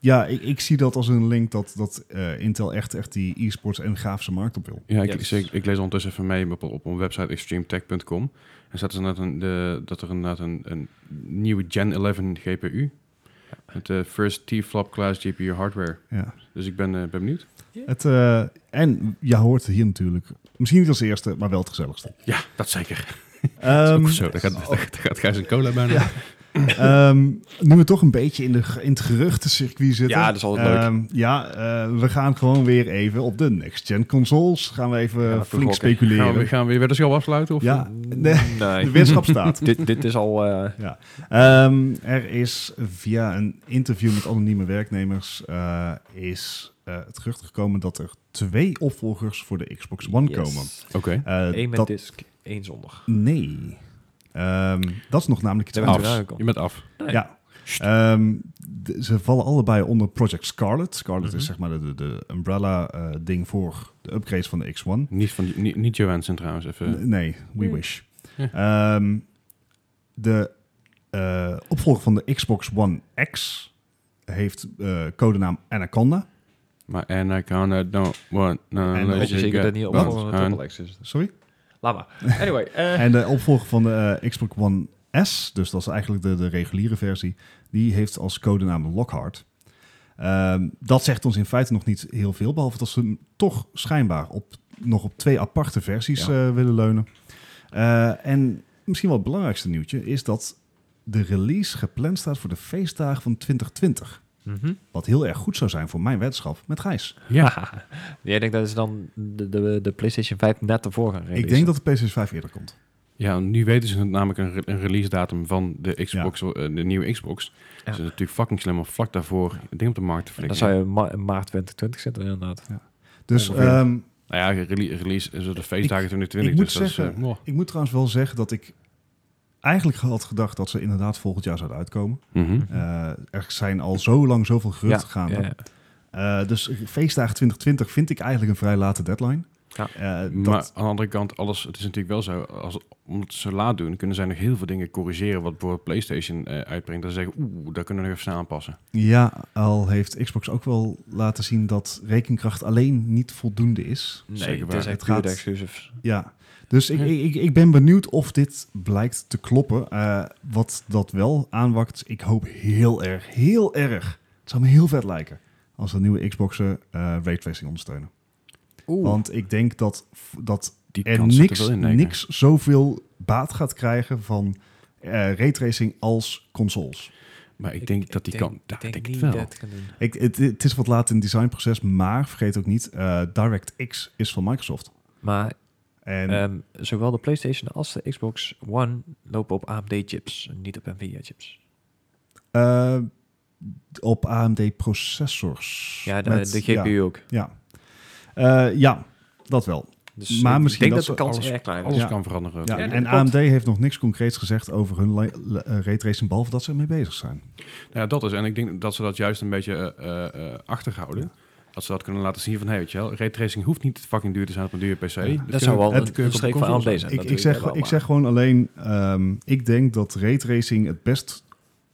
ja, ik, ik zie dat als een link dat, dat eh, Intel echt, echt die e-sports en grafische markt op wil. Ja, ik, Yes. ik, ik lees ondertussen even mee op, op een website extremetech.com. En staat dus inderdaad een, de, dat er inderdaad een, een nieuwe Gen 11 GPU. Met de first T-flop class GPU hardware. Ja. Dus ik ben, eh, ben benieuwd. Het, eh, en je hoort het hier natuurlijk, misschien niet als eerste, maar wel het gezelligste. Ja, dat zeker. Ehm, Ook zo, daar gaat, daar gaat Gijs een cola bijna. Ja. Ehm, nu we toch een beetje in, de, in het geruchtencircuit zitten. Ja, dat is altijd leuk. Ehm, ja, eh, we gaan gewoon weer even op de next-gen consoles. Gaan we even Gaan we flink gokken. Gaan we, speculeren. gaan we weer weddenschap afsluiten? Of Ja, Ah, nee, de nee. wetenschap staat. dit, dit is al... eh, Ehm, er is via een interview met anonieme werknemers eh, is, eh, het gerucht gekomen dat er twee opvolgers voor de Xbox One yes. komen. Oké. Eh, Eén met dat, disk, één zonder. nee. Ehm, dat is nog namelijk iets Daar anders. ben ik eruit Je gekomen. bent af. Ja. Ehm, d- ze vallen allebei onder Project Scarlet. Scarlet Mhm. is zeg maar de, de, de umbrella-ding voor de upgrades van de X1. Niet, van, die- niet, niet Johansson trouwens. Even. N- Nee, we Nee. wish. Ehm, de eh, opvolger van de Xbox One X heeft eh, codenaam Anaconda. Maar and I kinda don't want no En Ik dat weet je zeker dat niet op want- een triple X is. Sorry. Laat maar. Anyway. eh, En de opvolger van de eh, Xbox One S, dus dat is eigenlijk de, de reguliere versie, die heeft als codenaam Lockhart. Ehm, dat zegt ons in feite nog niet heel veel, behalve dat ze hem toch schijnbaar op, nog op twee aparte versies eh, willen leunen. Eh, en misschien wel het belangrijkste nieuwtje is dat de release gepland staat voor de feestdagen van 2020. mhm. Wat heel erg goed zou zijn voor mijn weddenschap met Gijs. Ja. Jij denkt dat ze dan de, de, de PlayStation 5 net ervoor gaan releasen? Ik denk dat de PlayStation 5 eerder komt. ja, nu weten ze namelijk een, re- een release datum van de Xbox, eh, de nieuwe Xbox. Dus het is natuurlijk fucking slim om vlak daarvoor het ding op de markt te Dan flikken. zou je in ma- in maart 2020 zitten inderdaad. Dus Ongeveer. ehm, Nou ja, rele- release is de feestdagen Ik- 2020. ik moet dus dat is, zeggen- eh, wow. Ik moet trouwens wel zeggen dat ik eigenlijk had gedacht dat ze inderdaad volgend jaar zouden uitkomen. Mhm. Eh, er zijn al zo lang zoveel geruchten gaande. Ja, ja. Eh, dus feestdagen 2020 vind ik eigenlijk een vrij late deadline. Ja. Eh, dat, Maar aan de andere kant, alles, het is natuurlijk wel zo, als, omdat ze zo laat doen, kunnen zij nog heel veel dingen corrigeren wat bijvoorbeeld PlayStation eh, uitbrengt. Dat ze zeggen, oeh, daar kunnen we nog even snel aanpassen. ja, al heeft Xbox ook wel laten zien dat rekenkracht alleen niet voldoende is. Nee, Zeker het waar. is echt Het puur de gaat- exclusives. Ja, dus ik, Ja. ik, ik ben benieuwd of dit blijkt te kloppen. Eh, wat dat wel aanwakt, ik hoop heel erg, heel erg. Het zou me heel vet lijken als de nieuwe Xboxen eh raytracing ondersteunen. Oeh. Want ik denk dat, dat Die er kans zit er niks, wel in, denk ik. niks zoveel baat gaat krijgen van eh raytracing als consoles. Maar ik denk dat die kan, Ik daar denk, ik niet het wel. dat het kan doen. Ik, het, het is wat laat in het designproces, maar vergeet ook niet, eh DirectX is van Microsoft. Maar En ehm, zowel de PlayStation als de Xbox One lopen op AMD-chips, niet op Nvidia-chips. Eh, op AMD processors. Ja, de, Met- de GPU Ja, ook. ja. Eh, ja, dat wel. Dus Maar ik misschien denk dat dat de kans alles- erg klein is. Alles Ja. kan veranderen. Ja, Ja, dat en klopt. AMD heeft nog niks concreets gezegd over hun li- li- eh, raytracing, behalve dat ze ermee bezig zijn. Nou ja, dat is. En ik denk dat ze dat juist een beetje eh, eh, achterhouden. Dat ze dat kunnen laten zien van, hey, weet je wel, raytracing hoeft niet fucking duur Dus te zijn op een dure PC. Dat Dat kun- zou wel het- een een streek van AMD zijn. Ik, dat ik, weet zeg, wel, ik maar- zeg gewoon alleen, ehm, ik denk dat raytracing het best,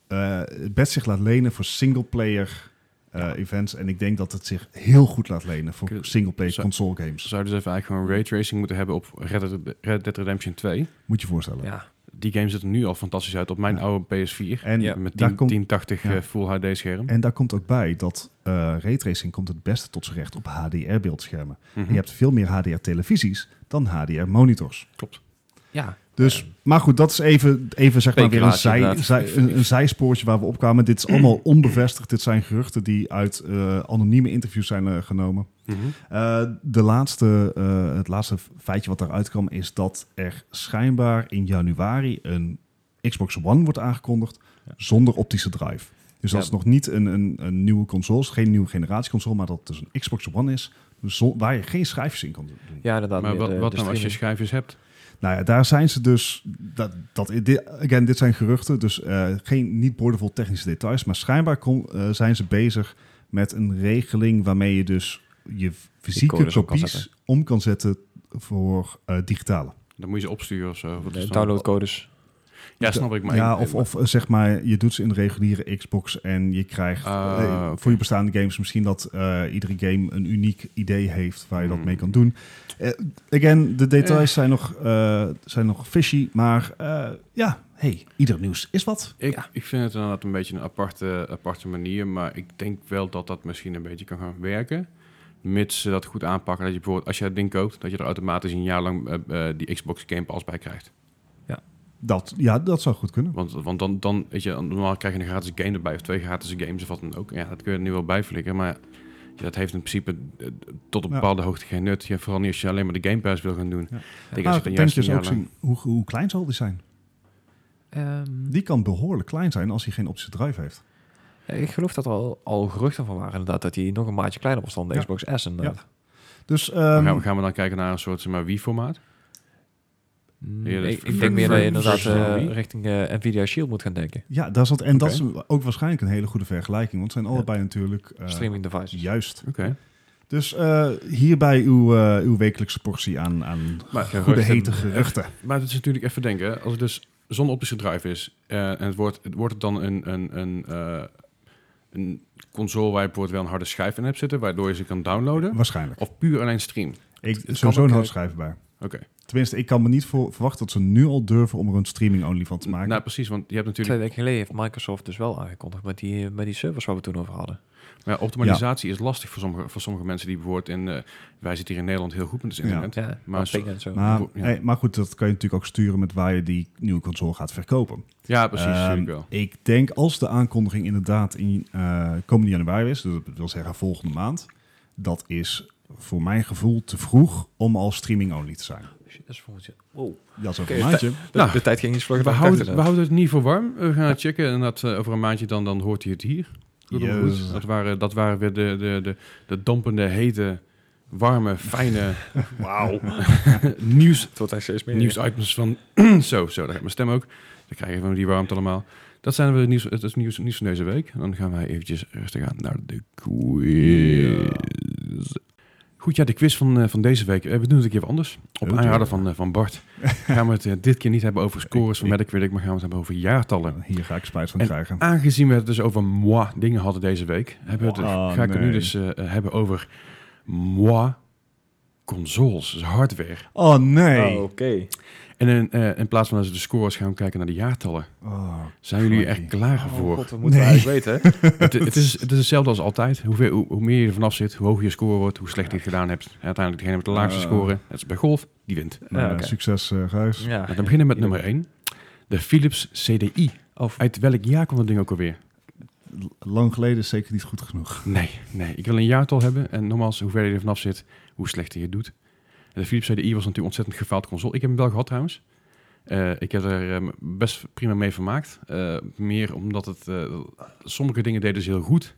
eh, het best zich laat lenen voor singleplayer eh, events. En ik denk dat het zich heel goed laat lenen voor Kun- singleplayer zou- console games. Ze zouden dus even eigenlijk gewoon raytracing moeten hebben op Red Dead, Red Dead Redemption 2. Moet je voorstellen. Ja, Die game ziet er nu al fantastisch uit op mijn Ja. oude PS4. En, Ja. Met daar 10, komt- 1080 ja. eh, Full HD scherm. en daar komt ook bij dat eh raytracing komt het beste tot zijn recht op HDR-beeldschermen. Mhm. Je hebt veel meer HDR-televisies dan HDR-monitors. Klopt. ja. Dus, maar goed, dat is even, even zeg maar weer een, Ehm, Speculatie, zij, inderdaad. zij- een, een zijspoortje waar we opkwamen. Dit is allemaal onbevestigd. Dit zijn geruchten die uit eh, anonieme interviews zijn eh, genomen. Mhm. Eh, de laatste, eh, het laatste feitje wat daaruit kwam is dat er schijnbaar in januari een Xbox One wordt aangekondigd Ja. zonder optische drive. Dus dat Ja. is nog niet een, een, een nieuwe console, is geen nieuwe generatie console, maar dat het dus een Xbox One is zo- waar je geen schijfjes in kan doen. ja, inderdaad. Maar de- wat, de- wat de nou als je streaming. schijfjes hebt? Nou ja, daar zijn ze dus. Dat, dat, dit, again, dit zijn geruchten, dus eh, geen, niet boordevol technische details. Maar schijnbaar kom- eh, zijn ze bezig met een regeling waarmee je dus je fysieke codes om kan kopies zetten. om kan zetten voor eh, digitale. Dan moet je ze opsturen of zo. Wat is De dan- downloadcodes. Ja, snap ik. Maar ja, of, of eh, zeg maar, je doet ze in de reguliere Xbox en je krijgt Ah, eh, oké. voor je bestaande games misschien dat eh, iedere game een uniek idee heeft waar je dat Hmm. mee kan doen. Eh, again, de details zijn, nog, eh, zijn nog fishy, maar eh, ja, hey, ieder nieuws is wat. Ik, Ja. ik vind het inderdaad een beetje een aparte, aparte manier, maar ik denk wel dat dat misschien een beetje kan gaan werken. Mits ze dat goed aanpakken. Dat je bijvoorbeeld, als je dat ding koopt, dat je er automatisch een jaar lang eh, eh, die Xbox Game Pass bij krijgt. Dat, ja, dat zou goed kunnen. Want, want dan, dan, weet je, normaal krijg je een gratis game erbij of twee gratis games of wat dan ook. Ja, dat kun je er nu wel bij flikken, maar ja, dat heeft in principe eh, tot op Ja. bepaalde hoogte geen nut. Ja, vooral niet als je alleen maar de Game Pass wil gaan doen. Ja. Ik denk Maar als je ik dan denk juist een dus ook jaar lang... zien, hoe, hoe klein zal die zijn? Ehm, Die kan behoorlijk klein zijn als hij geen optische drive heeft. ja, ik geloof dat er al, al geruchten van waren inderdaad dat die nog een maatje kleiner was dan de Ja. Xbox S eh, inderdaad. Dus Maar ehm, gaan, we, gaan we dan kijken naar een soort zeg maar, Wii-formaat? Mm, Ja, dat ik, ver- ik denk meer dat je ver- inderdaad versnelling. eh, richting eh, Nvidia Shield moet gaan denken. ja, daar zat, en dat Oké. is ook waarschijnlijk een hele goede vergelijking, want het zijn Ja. allebei natuurlijk eh, Streaming devices. juist. Oké. Dus eh, hierbij uw, eh, uw wekelijkse portie aan, aan Maar goede geruchten- hete geruchten. Maar het is natuurlijk even denken, als het dus zonder optische drive is eh, en het wordt, het wordt het dan een, een, een, eh, een console waar je bijvoorbeeld wel een harde schijf in hebt zitten, waardoor je ze kan downloaden, Waarschijnlijk. of puur alleen stream. Ik kan sowieso ook, een eh, hoofdschrijver bij. Oké, Tenminste, ik kan me niet voor, verwachten dat ze nu al durven om er een streaming-only van te maken. nou precies, want je hebt Twee natuurlijk, weken geleden heeft Microsoft dus wel aangekondigd met die, met die servers waar we toen over hadden. maar optimalisatie is lastig voor sommige, voor sommige mensen die bijvoorbeeld in, eh, wij zitten hier in Nederland heel goed met het Ja. internet. Ja, Maar maar zo- en zo. maar, ja. eh, maar goed, dat kan je natuurlijk ook sturen met waar je die nieuwe console gaat verkopen. Ja, precies, Ehm, natuurlijk wel. Ik denk als de aankondiging inderdaad in eh, komende januari is, dus dat wil zeggen volgende maand, dat is voor mijn gevoel te vroeg om al streaming-only te zijn. Shit, dat is volgens je. Wow. Dat is over Oké, een maandje. De, de tijd ging iets vlugger Nou, We dan ik houden, dacht het- we houden het niet voor warm. We gaan het checken en dat, eh, over een maandje dan, dan hoort hij het hier. Goed, Yes. goed. Dat, waren, dat waren weer de, de, de, de dampende, hete, warme, fijne Wauw. nieuws, Het wordt echt steeds meer. nieuwsitems van... zo, zo, daar gaat mijn stem ook. Dan krijgen we die warmte allemaal. Dat zijn we de nieuws, het is nieuws, nieuws van deze week. En dan gaan wij eventjes rustig aan naar de quiz. Goed, ja, de quiz van, eh, van deze week. Eh, we doen het een keer wat anders. Op Oh, aanraden dear. van, eh, van Bart gaan we het eh, dit keer niet hebben over scores van Ik- Metacritic, maar gaan we het hebben over jaartallen. Hier ga ik spijt van En- krijgen. Aangezien we het dus over moi dingen hadden deze week, hebben we het, Oh, ga ik het nu nee. dus eh, hebben over moi consoles, dus hardware. Oh nee. Oh, Oké. En in, eh, in plaats van dat ze de scores gaan we kijken naar de jaartallen. Oh, Zijn jullie crikey. er klaar voor? Oh, God, we moeten Nee. eigenlijk weten. hè? het, het, is, het is hetzelfde als altijd. Hoe, veel- hoe, hoe meer je er vanaf zit, hoe hoger je score wordt, hoe slechter je het gedaan hebt. En uiteindelijk degene met de laagste Eh. score, net als bij golf, die wint. Nou, Ja, oké. Succes, eh Gijs. Ja. Nou, dan beginnen we met nummer 1. De Philips CDI. Of, Uit welk jaar kwam dat ding ook alweer? L- Lang geleden is zeker niet goed genoeg. Nee, nee. Ik wil een jaartal hebben. En nogmaals, hoe verder je er vanaf zit, hoe slechter je het doet. En De Philips CDI was natuurlijk een ontzettend gefaald console. Ik heb hem wel gehad trouwens. Eh, ik heb er eh, best prima mee vermaakt. Eh, meer omdat het... eh, sommige dingen deden ze heel goed.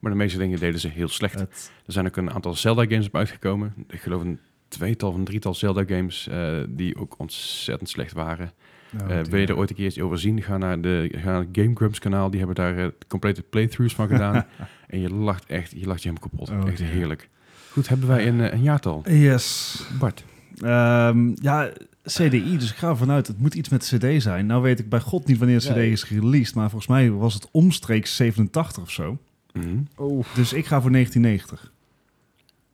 Maar de meeste dingen deden ze heel slecht. Het, Er zijn ook een aantal Zelda-games op uitgekomen. Ik geloof een tweetal of een drietal Zelda-games eh, die ook ontzettend slecht waren. nou, Eh, het- wil je er ooit een keer iets over zien? Ga naar, de, ga naar het Game Grumps kanaal. Die hebben daar eh, complete playthroughs van gedaan. en je lacht echt, je lacht je helemaal kapot. Oh, echt dear. heerlijk. Goed, hebben wij een, eh, een jaartal. Yes. Bart. Ehm, ja, CDI, dus ik ga ervan uit, het moet iets met CD zijn. Nou weet ik bij god niet wanneer CD Nee. is released, maar volgens mij was het omstreeks 87 of zo. Mhm. Oh. Dus ik ga voor 1990.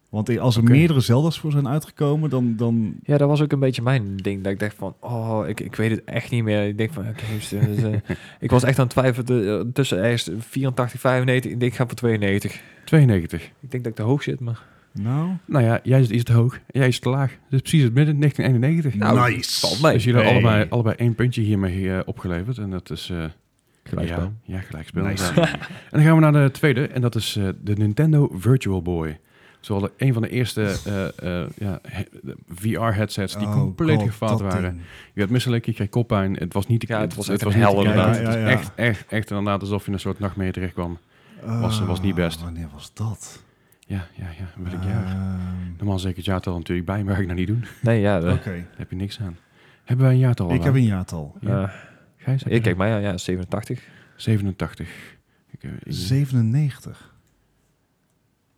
Want als er Oké. meerdere Zelda's voor zijn uitgekomen, dan... dan Ja, dat was ook een beetje mijn ding. Dat ik dacht van, oh, ik, ik weet het echt niet meer. Ik denk van, oké, dus, eh, ik was echt aan het twijfelen eh, tussen ergens 84, 95. Ik denk, ik ga voor 92. 92. Ik denk dat ik te hoog zit, maar... nou, Nou ja, jij zit iets te hoog. en Jij is te laag. Dus precies het midden, 1991. Nou, nice. valt mee. Dus jullie Hey. hebben allebei, allebei één puntje hiermee eh, opgeleverd. En dat is... eh, Gelijkspel. Ja, ja gelijkspel. Nice. Ja. en dan gaan we naar de tweede. En dat is eh, de Nintendo Virtual Boy. Zowel de, een van de eerste eh, eh, ja, VR-headsets die Oh compleet god, gefaald dat waren. ding. Je werd misselijk, je kreeg koppijn. Het was niet te Ja, het was echt een niet te hel kijken. inderdaad. Het Ja, was ja, ja. echt, echt, echt inderdaad alsof je in een soort nachtmerrie terecht kwam. Was- was niet best. Ah, Wanneer was dat? Ja, ja, ja. Welk Ehm, jaar? Normaal zeker het jaartal natuurlijk bij, maar ga ik nou niet doen. Nee, ja. Oké, eh, Daar heb je niks aan. Hebben wij een jaartal? ik aan? heb een jaartal. Ja. eh, Gijs, heb je ik kijk een- mij aan, ja, 87. 87. Ik, eh, ik- 97.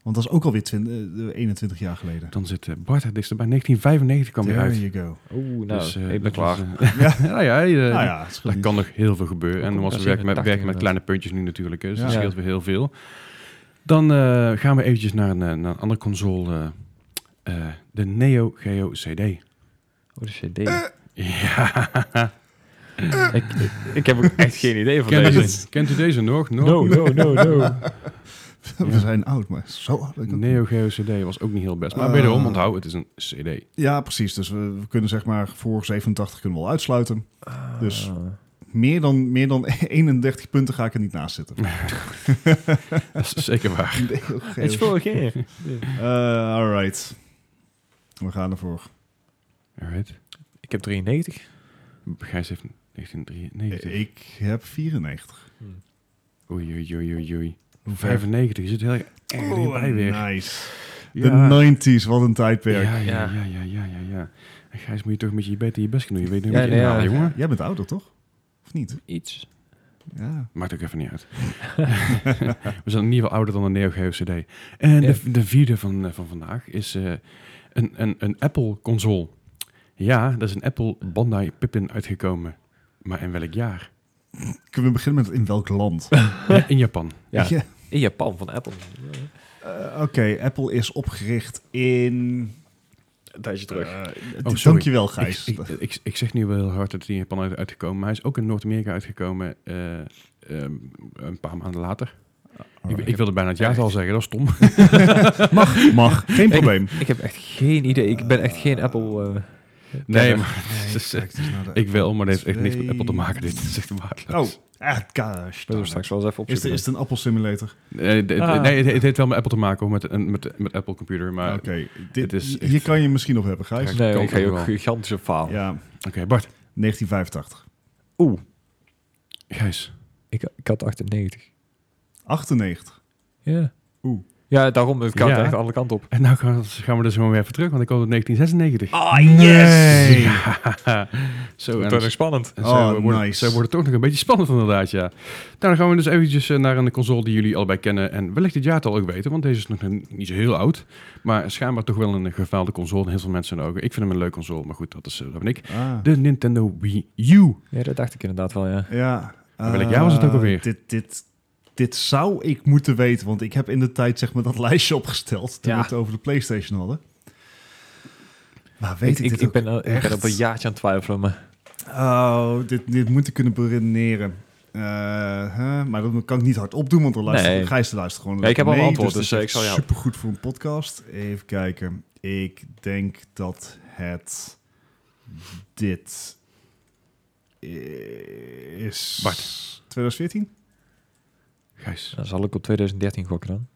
Want dat is ook alweer 20, eh, 21 jaar geleden. dan zit eh, Bart het dichtst bij 1995 kwam hij There uit. you go. Oeh, nou, Dus, eh, ik ben dat klaar. was, eh, ja, nou ja, je- nou ja, het scheelt daar niet. kan nog heel veel gebeuren. En Ook omdat als we werken met, 87 werken met inderdaad. kleine puntjes nu natuurlijk, hè, dus dat Ja. scheelt weer heel veel. Dan eh, gaan we eventjes naar een, eh, naar een andere console, eh, eh, de Neo Geo CD. Oh, de CD. Ja, ik, ik heb ook echt geen idee van kent u, deze. dit- kent u deze nog? nog? No, no, no, no. We zijn oud, maar zo oud. ben ik ook Neo Geo CD was ook niet heel best. Maar Ah. wederom, onthoud, het is een CD. Ja, precies. Dus we, we kunnen zeg maar voor 87 kunnen we al uitsluiten. Dus- Ah. Meer dan, meer dan 31 punten ga ik er niet naast zitten. Dat is zeker waar. Het is vorig jaar. Eh, alright. We gaan ervoor. Alright. Ik heb 93. Gijs heeft 1993. Ik heb 94. Hmm. Oei, oei, oei, oei, oei. Hoe ver? 95, je zit heel erg Oh, erg dichtbij nou. weer. nice. De Ja. 90s, wat een tijdperk. Ja, ja, Ja. ja, ja, ja, ja, ja. En Gijs, moet je toch met je beter je best kunnen doen. Je weet niet Ja, wat je nee, inhalen, ja. jongen. Jij bent ouder, toch? Of niet? Iets. Ja. Maakt ook even niet uit. We zijn in ieder geval ouder dan de Neo Geo CD. En de, de vierde van, eh, van vandaag is eh, een, een, een Apple-console. Ja, daar is een Apple Bandai Pippin uitgekomen. Maar in welk jaar? Kunnen we beginnen met in welk land? Eh, in Japan. Ja. Ja. In Japan van Apple. Eh, Oké, Apple is opgericht in... Een tijdje terug. Eh, sorry. dankjewel, Ik, Gijs. ik, ik, ik zeg nu wel heel hard dat hij in Japan uit, uitgekomen, maar hij is ook in Noord-Amerika uitgekomen eh, ehm, een paar maanden later. Oh, Ik, ik wilde bijna het jaartal zeggen, dat is stom. mag, mag. Geen probleem. Ik heb echt geen idee. Ik ben echt geen Apple. eh, Nee, Verder. maar het is, eh, kijk, het is naar de- ik wel, maar dat heeft echt niks met Twee. Apple te maken. Dit is echt waardeloos. Oh, ah, gosh. Zullen we straks wel eens even dus Is, de- opzoeken. is het een appelsimulator? Nee, d- d- Ah. nee, het, het heeft wel met Apple te maken, hoor, met een met, met Apple computer. Maar Oké, oké, dit- het is echt- hier kan je misschien op hebben, Gijs. Kijk. nee, kan ik ga je toch ook wel. gigantische faal. Ja, Bart, 1985. Gijs, Ik, ik had 98. 98. Ja. Oeh. Ja, daarom. Het kan Ja. echt de andere kant op. en nou gaan, gaan we dus gewoon weer even terug, want ik kwam op 1996. Ah, Nee. zo, en dus- Dat is echt spannend. en Oh, zo, wordt, nice. zo wordt het toch nog een beetje spannend inderdaad, ja. Nou, dan gaan we dus eventjes eh, naar een console die jullie allebei kennen en wellicht het jaartal ook weten, want deze is nog een- niet zo heel oud, maar schijnbaar toch wel een eh, gefaalde console in heel veel mensen ook. Ik vind hem een leuk console, maar goed, dat is eh, dat ben ik. Ah. De Nintendo Wii U. Ja, dat dacht ik inderdaad wel, ja. Ja. Maar Dus- welk jaar was het ook eh, alweer? Dit, dit, dit zou ik moeten weten, want ik heb in de tijd zeg maar dat lijstje opgesteld toen Ja. we het over de PlayStation hadden. Maar Ik, weet ik, ik, dit ik, ook ben, al- ik ben echt? op een jaartje aan het twijfelen, maar... Oh, dit, dit moet ik kunnen beredeneren. Eh, hè? Maar dat kan ik niet hardop doen, want dan luistert Nee. Gijs te luisteren gewoon. Nee, ik heb al lekker een mee, antwoord, dit dus, eh, is ik zal je helpen. Supergoed voor een podcast. Even kijken. Ik denk dat het dit is. Bart. 2014? Gijs, Dan zal ik op 2013 gokken dan.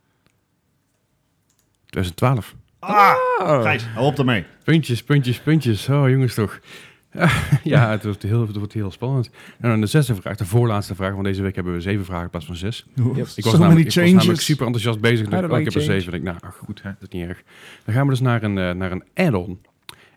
2012. Ah, Gijs, hou op daarmee. Puntjes, puntjes, puntjes. Oh, jongens toch. ja, het wordt, heel, het wordt heel spannend. En dan de zesde vraag, de voorlaatste vraag, want deze week hebben we zeven vragen in plaats van zes. Ik was, so many namelijk, ik was changes. namelijk super enthousiast bezig. Ik dacht, I don't oh, ik heb er like change. zeven. Ik dacht, nou, ach, goed, hè, dat is niet erg. Dan gaan we dus naar een, eh, naar een add-on.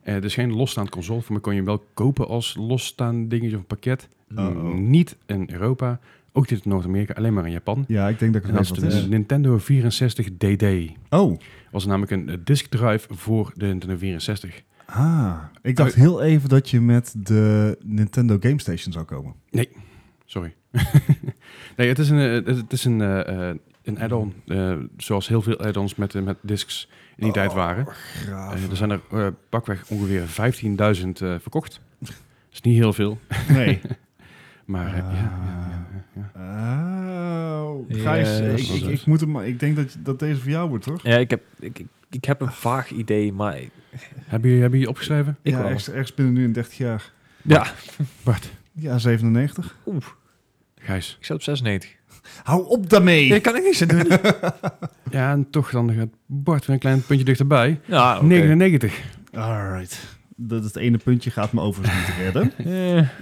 Eh dit is geen losstaand console, voor mij kon je hem wel kopen als losstaand dingetje of een pakket. Uh-oh. Niet in Europa, ook niet in Noord-Amerika, alleen maar in Japan. Ja, ik denk dat ik En het weet dat is wat de het is. Nintendo 64DD. Oh, was namelijk een eh, disk drive voor de Nintendo 64. ah. Ik dacht heel even dat je met de Nintendo Game Station zou komen. Sorry. nee, het is een, eh, het is een, eh, eh, een add-on. Eh, zoals heel veel add-ons met, eh, met discs in die tijd waren. Graaf. Eh, er zijn er eh, pakweg ongeveer 15.000 eh, verkocht. Dat is niet heel veel. Nee. Maar eh, ja, ja, ja, ja. Oh, Ja, Gijs, dat ik, is ik, wel ik zo. moet hem, ik denk dat, dat deze voor jou wordt, toch? Ja, ik heb, ik, ik, ik heb een vaag idee, maar ik Hebben jullie hebben jullie opgeschreven? ja, wel. ergens, ergens binnen nu in 30 jaar. Ja, Bart, Ja, 97. oeh, Gijs. ik zat op 96. Hou op daarmee! Daar kan ik niks aan doen. Ja, en toch dan gaat Bart weer een klein puntje dichterbij. Ja, 99. Alright. Dat, dat ene puntje gaat me overigens niet redden.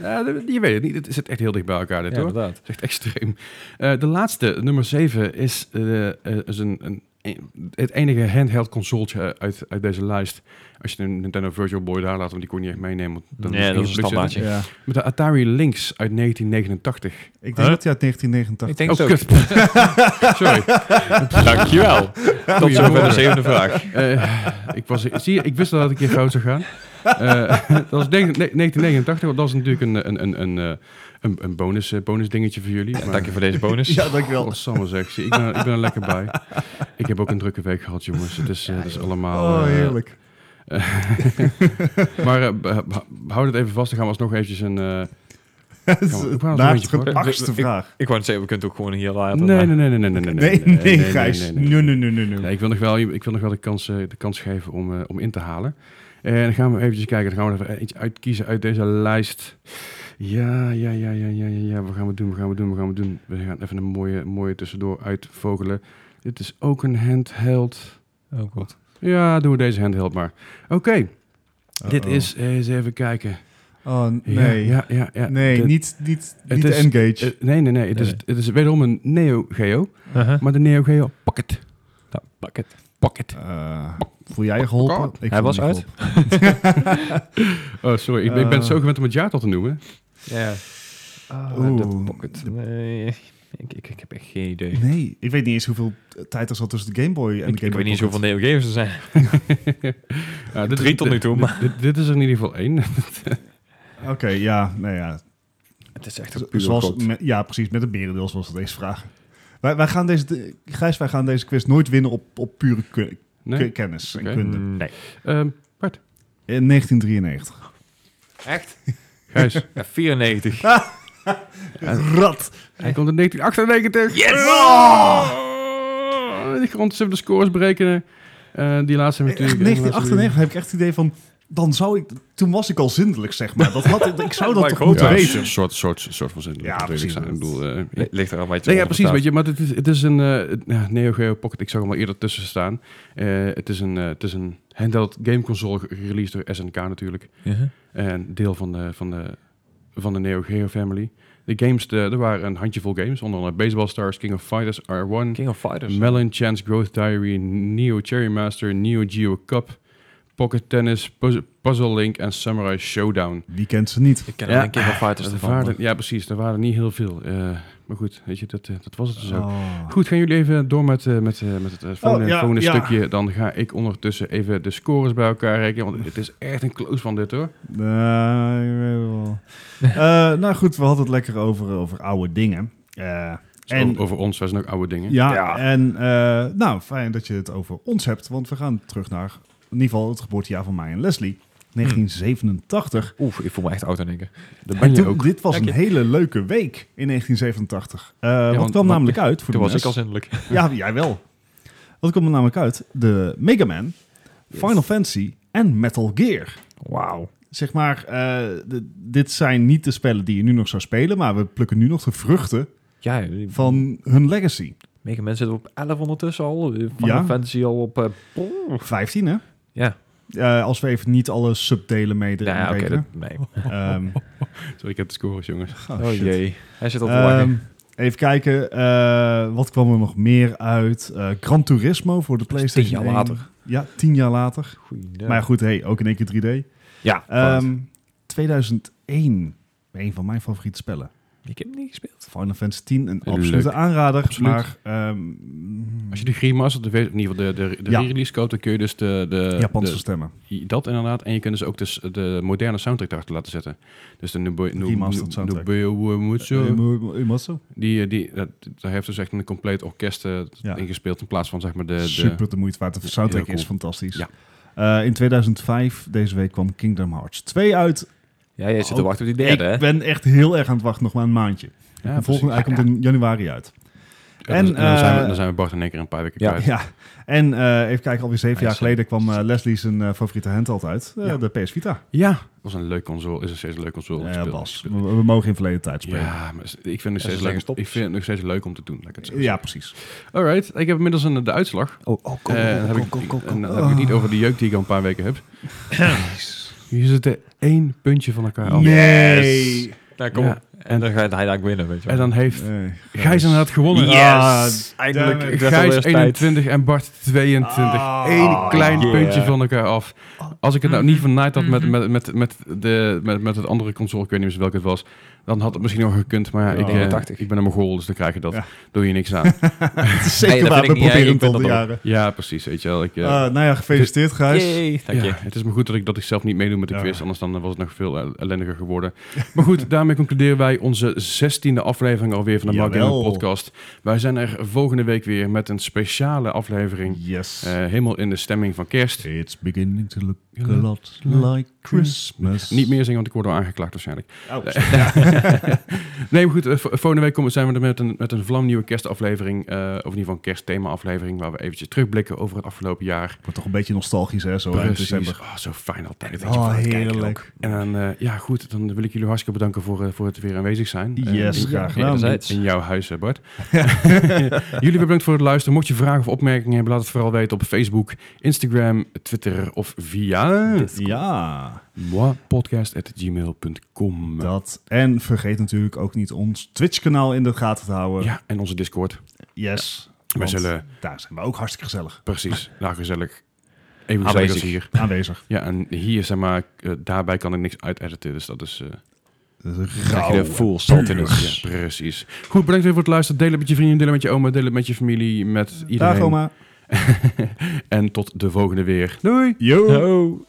Ja, dat- je weet het niet. Het zit echt heel dicht bij elkaar dit, hoor. inderdaad. Dat is echt extreem. Eh, de laatste, nummer 7, is, eh, eh, is een, een, een- het enige handheld consoletje uit, uit deze lijst. Als je een Nintendo Virtual Boy daar laat, want die kon je niet echt meenemen. want dan Nee, ging dat is je een pluk standaardje. zitten. Ja. Met de Atari Lynx uit 1989. Ik denk Huh? dat hij uit 1989... Ik denk Oh, zo. kut. Sorry. Dankjewel. Tot Goeie zover de woorden. zevende vraag. Eh, ik, was, zie je, ik wist al dat ik hier fout zou gaan. Eh, dat was denk- ne- 1989, want dat is natuurlijk een, een, een, een, eh, een, een bonus, eh, bonus dingetje voor jullie. maar- Dank je voor deze bonus. Ja, dankjewel. Oh, Samme zeg. Zie, Ik ben, ik ben er lekker bij. Ik heb ook een drukke week gehad, jongens. Het is, eh, het is allemaal... Oh, eh, heerlijk. maar eh, be- be- houd het even vast. Dan gaan we alsnog eventjes een... eh, Het is kan wel- de ik wou dat naast een beetje achtste Ik- vraag. Ik wou net zeggen, we kunnen het ook gewoon hier laten. nee, nee, nee, nee, nee, nee, nee. Nee, nee, Gijs. nee, Nee, nee. nee, nee, nee, nee. Nee, ik wil nog wel, ik wil nog wel de, kans, eh, de kans geven om, eh, om in te halen. En dan gaan we eventjes kijken. Dan gaan we even iets uitkiezen uit deze lijst. Ja, ja, ja, ja, ja, ja, ja. We gaan het doen, we gaan het doen, we gaan het doen. We gaan even een mooie, mooie tussendoor uitvogelen. Dit is ook een handheld. Oh god. Ja, doen we deze handheld maar. Oké, Uh-oh. dit is eh, eens even kijken. Oh, Ja, nee. ja, ja, ja. Nee, Dit- niet, niet, Het niet de is- eh, Engage. nee, nee, nee. Het, Nee, Is, het is wederom een Neo Geo, Uh-huh. maar de Neo Geo Pocket. Nou, pak het. Pocket. Eh, voel jij je geholpen? Ik voel was me niet uit. geholpen. Oh, sorry. Ik, ben- ik ben Eh. zo gewend om het jaartal te noemen. Ja. Ah, Oeh. de pocket. Nee, ik, ik, ik heb echt geen idee. nee, ik weet niet eens hoeveel tijd er zat tussen de Game Boy en de Game Ik, Boy ik weet niet zoveel Pocket. Neo Games er zijn. Ja, dit, Drie tot nu toe, dit- maar- Dit, dit is er in ieder geval één. Oké, ja, nou ja. Het is echt Zo- een puur Zoals, god. met- ja, precies. Met een berendeel zoals dat deze vraag. Wij, wij gaan deze, de- Gijs, wij gaan deze quiz nooit winnen op, op pure ku- Nee? ku- kennis Oké. en kunde. Mm, Nee. Ehm, Bart, In 1993. Echt? Gijs. Ja, 94. Ah. Rat! Hij komt in 1998. Yes! Oh! Die grond zullen de scores breken. Eh, die laatste hebben we Echt, natuurlijk... 1998 heb ik echt het idee van... Dan zou ik... Toen was ik al zindelijk, zeg maar. Dat had, ik- ik zou dat Maar toch ik moeten hoop weten? Een soort, soort, soort van zin. Ja, precies. Ik bedoel, eh, Nee, Ligt er al wat je Nee, ja, precies. onderstaat. Weet je, maar het is, het is een eh, ja, Neo Geo Pocket. Ik zag hem al eerder tussen staan. Eh, het, is een, eh, het is een handheld game console ge- gereleased door SNK natuurlijk. Uh-huh. En deel van de, van de, van de Neo Geo family. De games, de, er waren een handjevol games. Onder andere Baseball Stars, King of Fighters, R1, King of Fighters. Melon Chance Growth Diary, Neo Cherry Master, Neo Geo Cup, Pocket Tennis, Puzz- Puzzle Link en Samurai Showdown. Wie kent ze niet? ik ken Ja. alleen King of Fighters Ah, Er ervan. waren, ja, precies. Er waren niet heel veel. Eh, maar goed, weet je, dat, eh, dat was het dus ook. Oh. Goed, gaan jullie even door met, eh, met, eh, met het eh, volgende, Oh, ja, volgende ja. stukje. Dan ga ik ondertussen even de scores bij elkaar rekenen. Want het is echt een close van dit hoor. Eh, ik weet het wel. Eh, nou goed, we hadden het lekker over, over oude dingen. Eh, Dus en over, over ons, wij zijn ook oude dingen. Ja, Ja. en eh, nou, fijn dat je het over ons hebt, want we gaan terug naar in ieder geval het geboortejaar van mij en Leslie. 1987. Oeh, ik voel me echt oud aan denken. Daar ben En je toen- ook. Dit was Dank een hele leuke week in 1987. Eh wat kwam want- want- namelijk uit voor Toen de was ik al NES? zindelijk. Ja, jij wel. Wat kwam er namelijk uit? De Mega Man, Final Fantasy en Metal Gear. Wauw. zeg maar, eh, d- dit zijn niet de spellen die je nu nog zou spelen, maar we plukken nu nog de vruchten Ja, van hun legacy. Mega Man zitten op 11 ondertussen al. eh, Final Ja. Fantasy al op... eh, poeh. 15, hè? ja, eh, als we even niet alle subdelen mee erin Nou ja, oké, rekenen. dat- nee. Ehm, Sorry, ik heb de scores, jongens. oh, Oh shit. jee, hij zit al te Ehm, lachen. even kijken, eh, wat kwam er nog meer uit? Eh, Gran Turismo voor de Dat is PlayStation tien jaar 1. later. Ja, tien jaar later. Goeie Maar goed, hey, ook in één keer 3D. Ja, Ehm, fout. 2001, een van mijn favoriete spellen. ik heb hem niet gespeeld. Final Fantasy 10, een Leuk. absolute aanrader. Absoluut. Maar ehm, Als je de Remaster, de, in ieder geval de, de, de Ja. re-release koopt, dan kun je dus de, de, Japanse de- stemmen. Dat inderdaad. En je kunt dus ook dus de moderne soundtrack erachter laten zetten. Dus de Nubo- Nu- Remastered Nu- soundtrack. Nubo Uematsu. Eh, Uematsu? Die, die, dat, daar heeft dus echt een compleet orkest eh, Ja. ingespeeld in plaats van zeg maar de... de Super de moeite waard. De soundtrack heel cool. is fantastisch. Ja. Eh, in 2005, deze week, kwam Kingdom Hearts 2 uit. Ja, jij zit te Oh, wachten op die derde, hè? Ik ben echt heel erg aan het wachten, nog maar een maandje. Ja, de volgende, hij precies. komt in januari uit. Ja, dan- en, dan, zijn we, eh, dan zijn we Bart en ik er een paar weken Ja. kwijt. Ja, en eh, even kijken, alweer zeven Hij jaar is, geleden kwam eh, Leslie zijn eh, favoriete handheld uit. eh, Ja. De PS Vita. Ja, dat was een leuk console. Is nog steeds een leuk console. Ja, Speel- Bas, we, speel- we mogen in verleden tijd spelen. Ja, maar is- ik vind, het nog ze steeds zijn leuk, om- gestopt. ik vind het nog steeds leuk om te doen. Laat ik het zo Ja, precies. zeggen. Alright, ik heb inmiddels een, de uitslag. Oh, oh, Eh, dan heb ik- en dan heb ik het niet over de jeuk die ik al een paar weken heb. Hier zitten één puntje van elkaar af. Nee. Eh, Nou, kom Ja. op. En dan gaat hij daar winnen, weet je En dan heeft Nee. Gijs inderdaad gewonnen. Ja, Ah, Yes! Eindelijk. damn it. Ik dacht alweer Gijs eens tijd. 21 en Bart 22. Ah, Eén klein yeah. puntje van elkaar af. Als ik het nou niet vernaaid had met, met, met, met, de, met, met het andere console, ik weet niet eens welke het was, dan had het misschien nog gekund. Maar Ja, ik, eh, 81. ik ben een goal, dus dan krijg je dat. Ja. Doe je niks aan. Het is Nee, zeker dat waar, we vind ik niet, hè. proberen het Ik vind al de dat ook. jaren. ja, precies. Weet je wel. Ik, eh, Eh, nou ja, gefeliciteerd Gijs. Yay, dank je. ja, het is maar goed dat ik, dat ik zelf niet meedoe met de Ah, Ja. quiz, anders dan was het nog veel eh, ellendiger geworden. Maar goed, daarmee concluderen wij onze zestiende aflevering alweer van de Mark Gaming Jawel. Podcast. Wij zijn er volgende week weer met een speciale aflevering. Yes. Eh, helemaal in de stemming van kerst. It's beginning to look Ja. a lot like Christmas. Niet meer zingen, want ik word al aangeklaagd waarschijnlijk. Oh, nee, maar goed, eh, vo- volgende week komen, zijn we er met een, met een vlamnieuwe kerstaflevering. eh, of in ieder geval een kerstthema-aflevering, waar we eventjes terugblikken over het afgelopen jaar. Wordt toch een beetje nostalgisch, hè, zo in december. Oh, zo fijn altijd. weet je, Oh, voor het kijken ook. heerlijk. En dan, eh, ja goed, dan wil ik jullie hartstikke bedanken voor, eh, voor het weer aanwezig zijn. Eh, Yes, in- graag in- gedaan. Enerzijds. In jouw huis, eh, Bart. jullie bedankt voor het luisteren. Mocht je vragen of opmerkingen hebben, laat het vooral weten op Facebook, Instagram, Twitter of via... Ja, moipodcast.gmail.com. dat. En vergeet natuurlijk ook niet ons Twitch-kanaal in de gaten te houden. Ja, en onze Discord. Yes. Wij want zullen, Daar zijn we ook hartstikke gezellig precies, daar gezellig, even gezellig als Aanwezig. hier. aanwezig. Ja, en hier, zeg maar, eh, daarbij kan ik niks uitediten, dus dat is... eh, Dat is Krijg je rauw. de full salt in ons. ja, precies. Goed, bedankt weer voor het luisteren. Deel het met je vrienden, deel het met je oma, deel het met je familie, met iedereen. Dag, oma. en tot de volgende weer. Doei! Yo. Yo.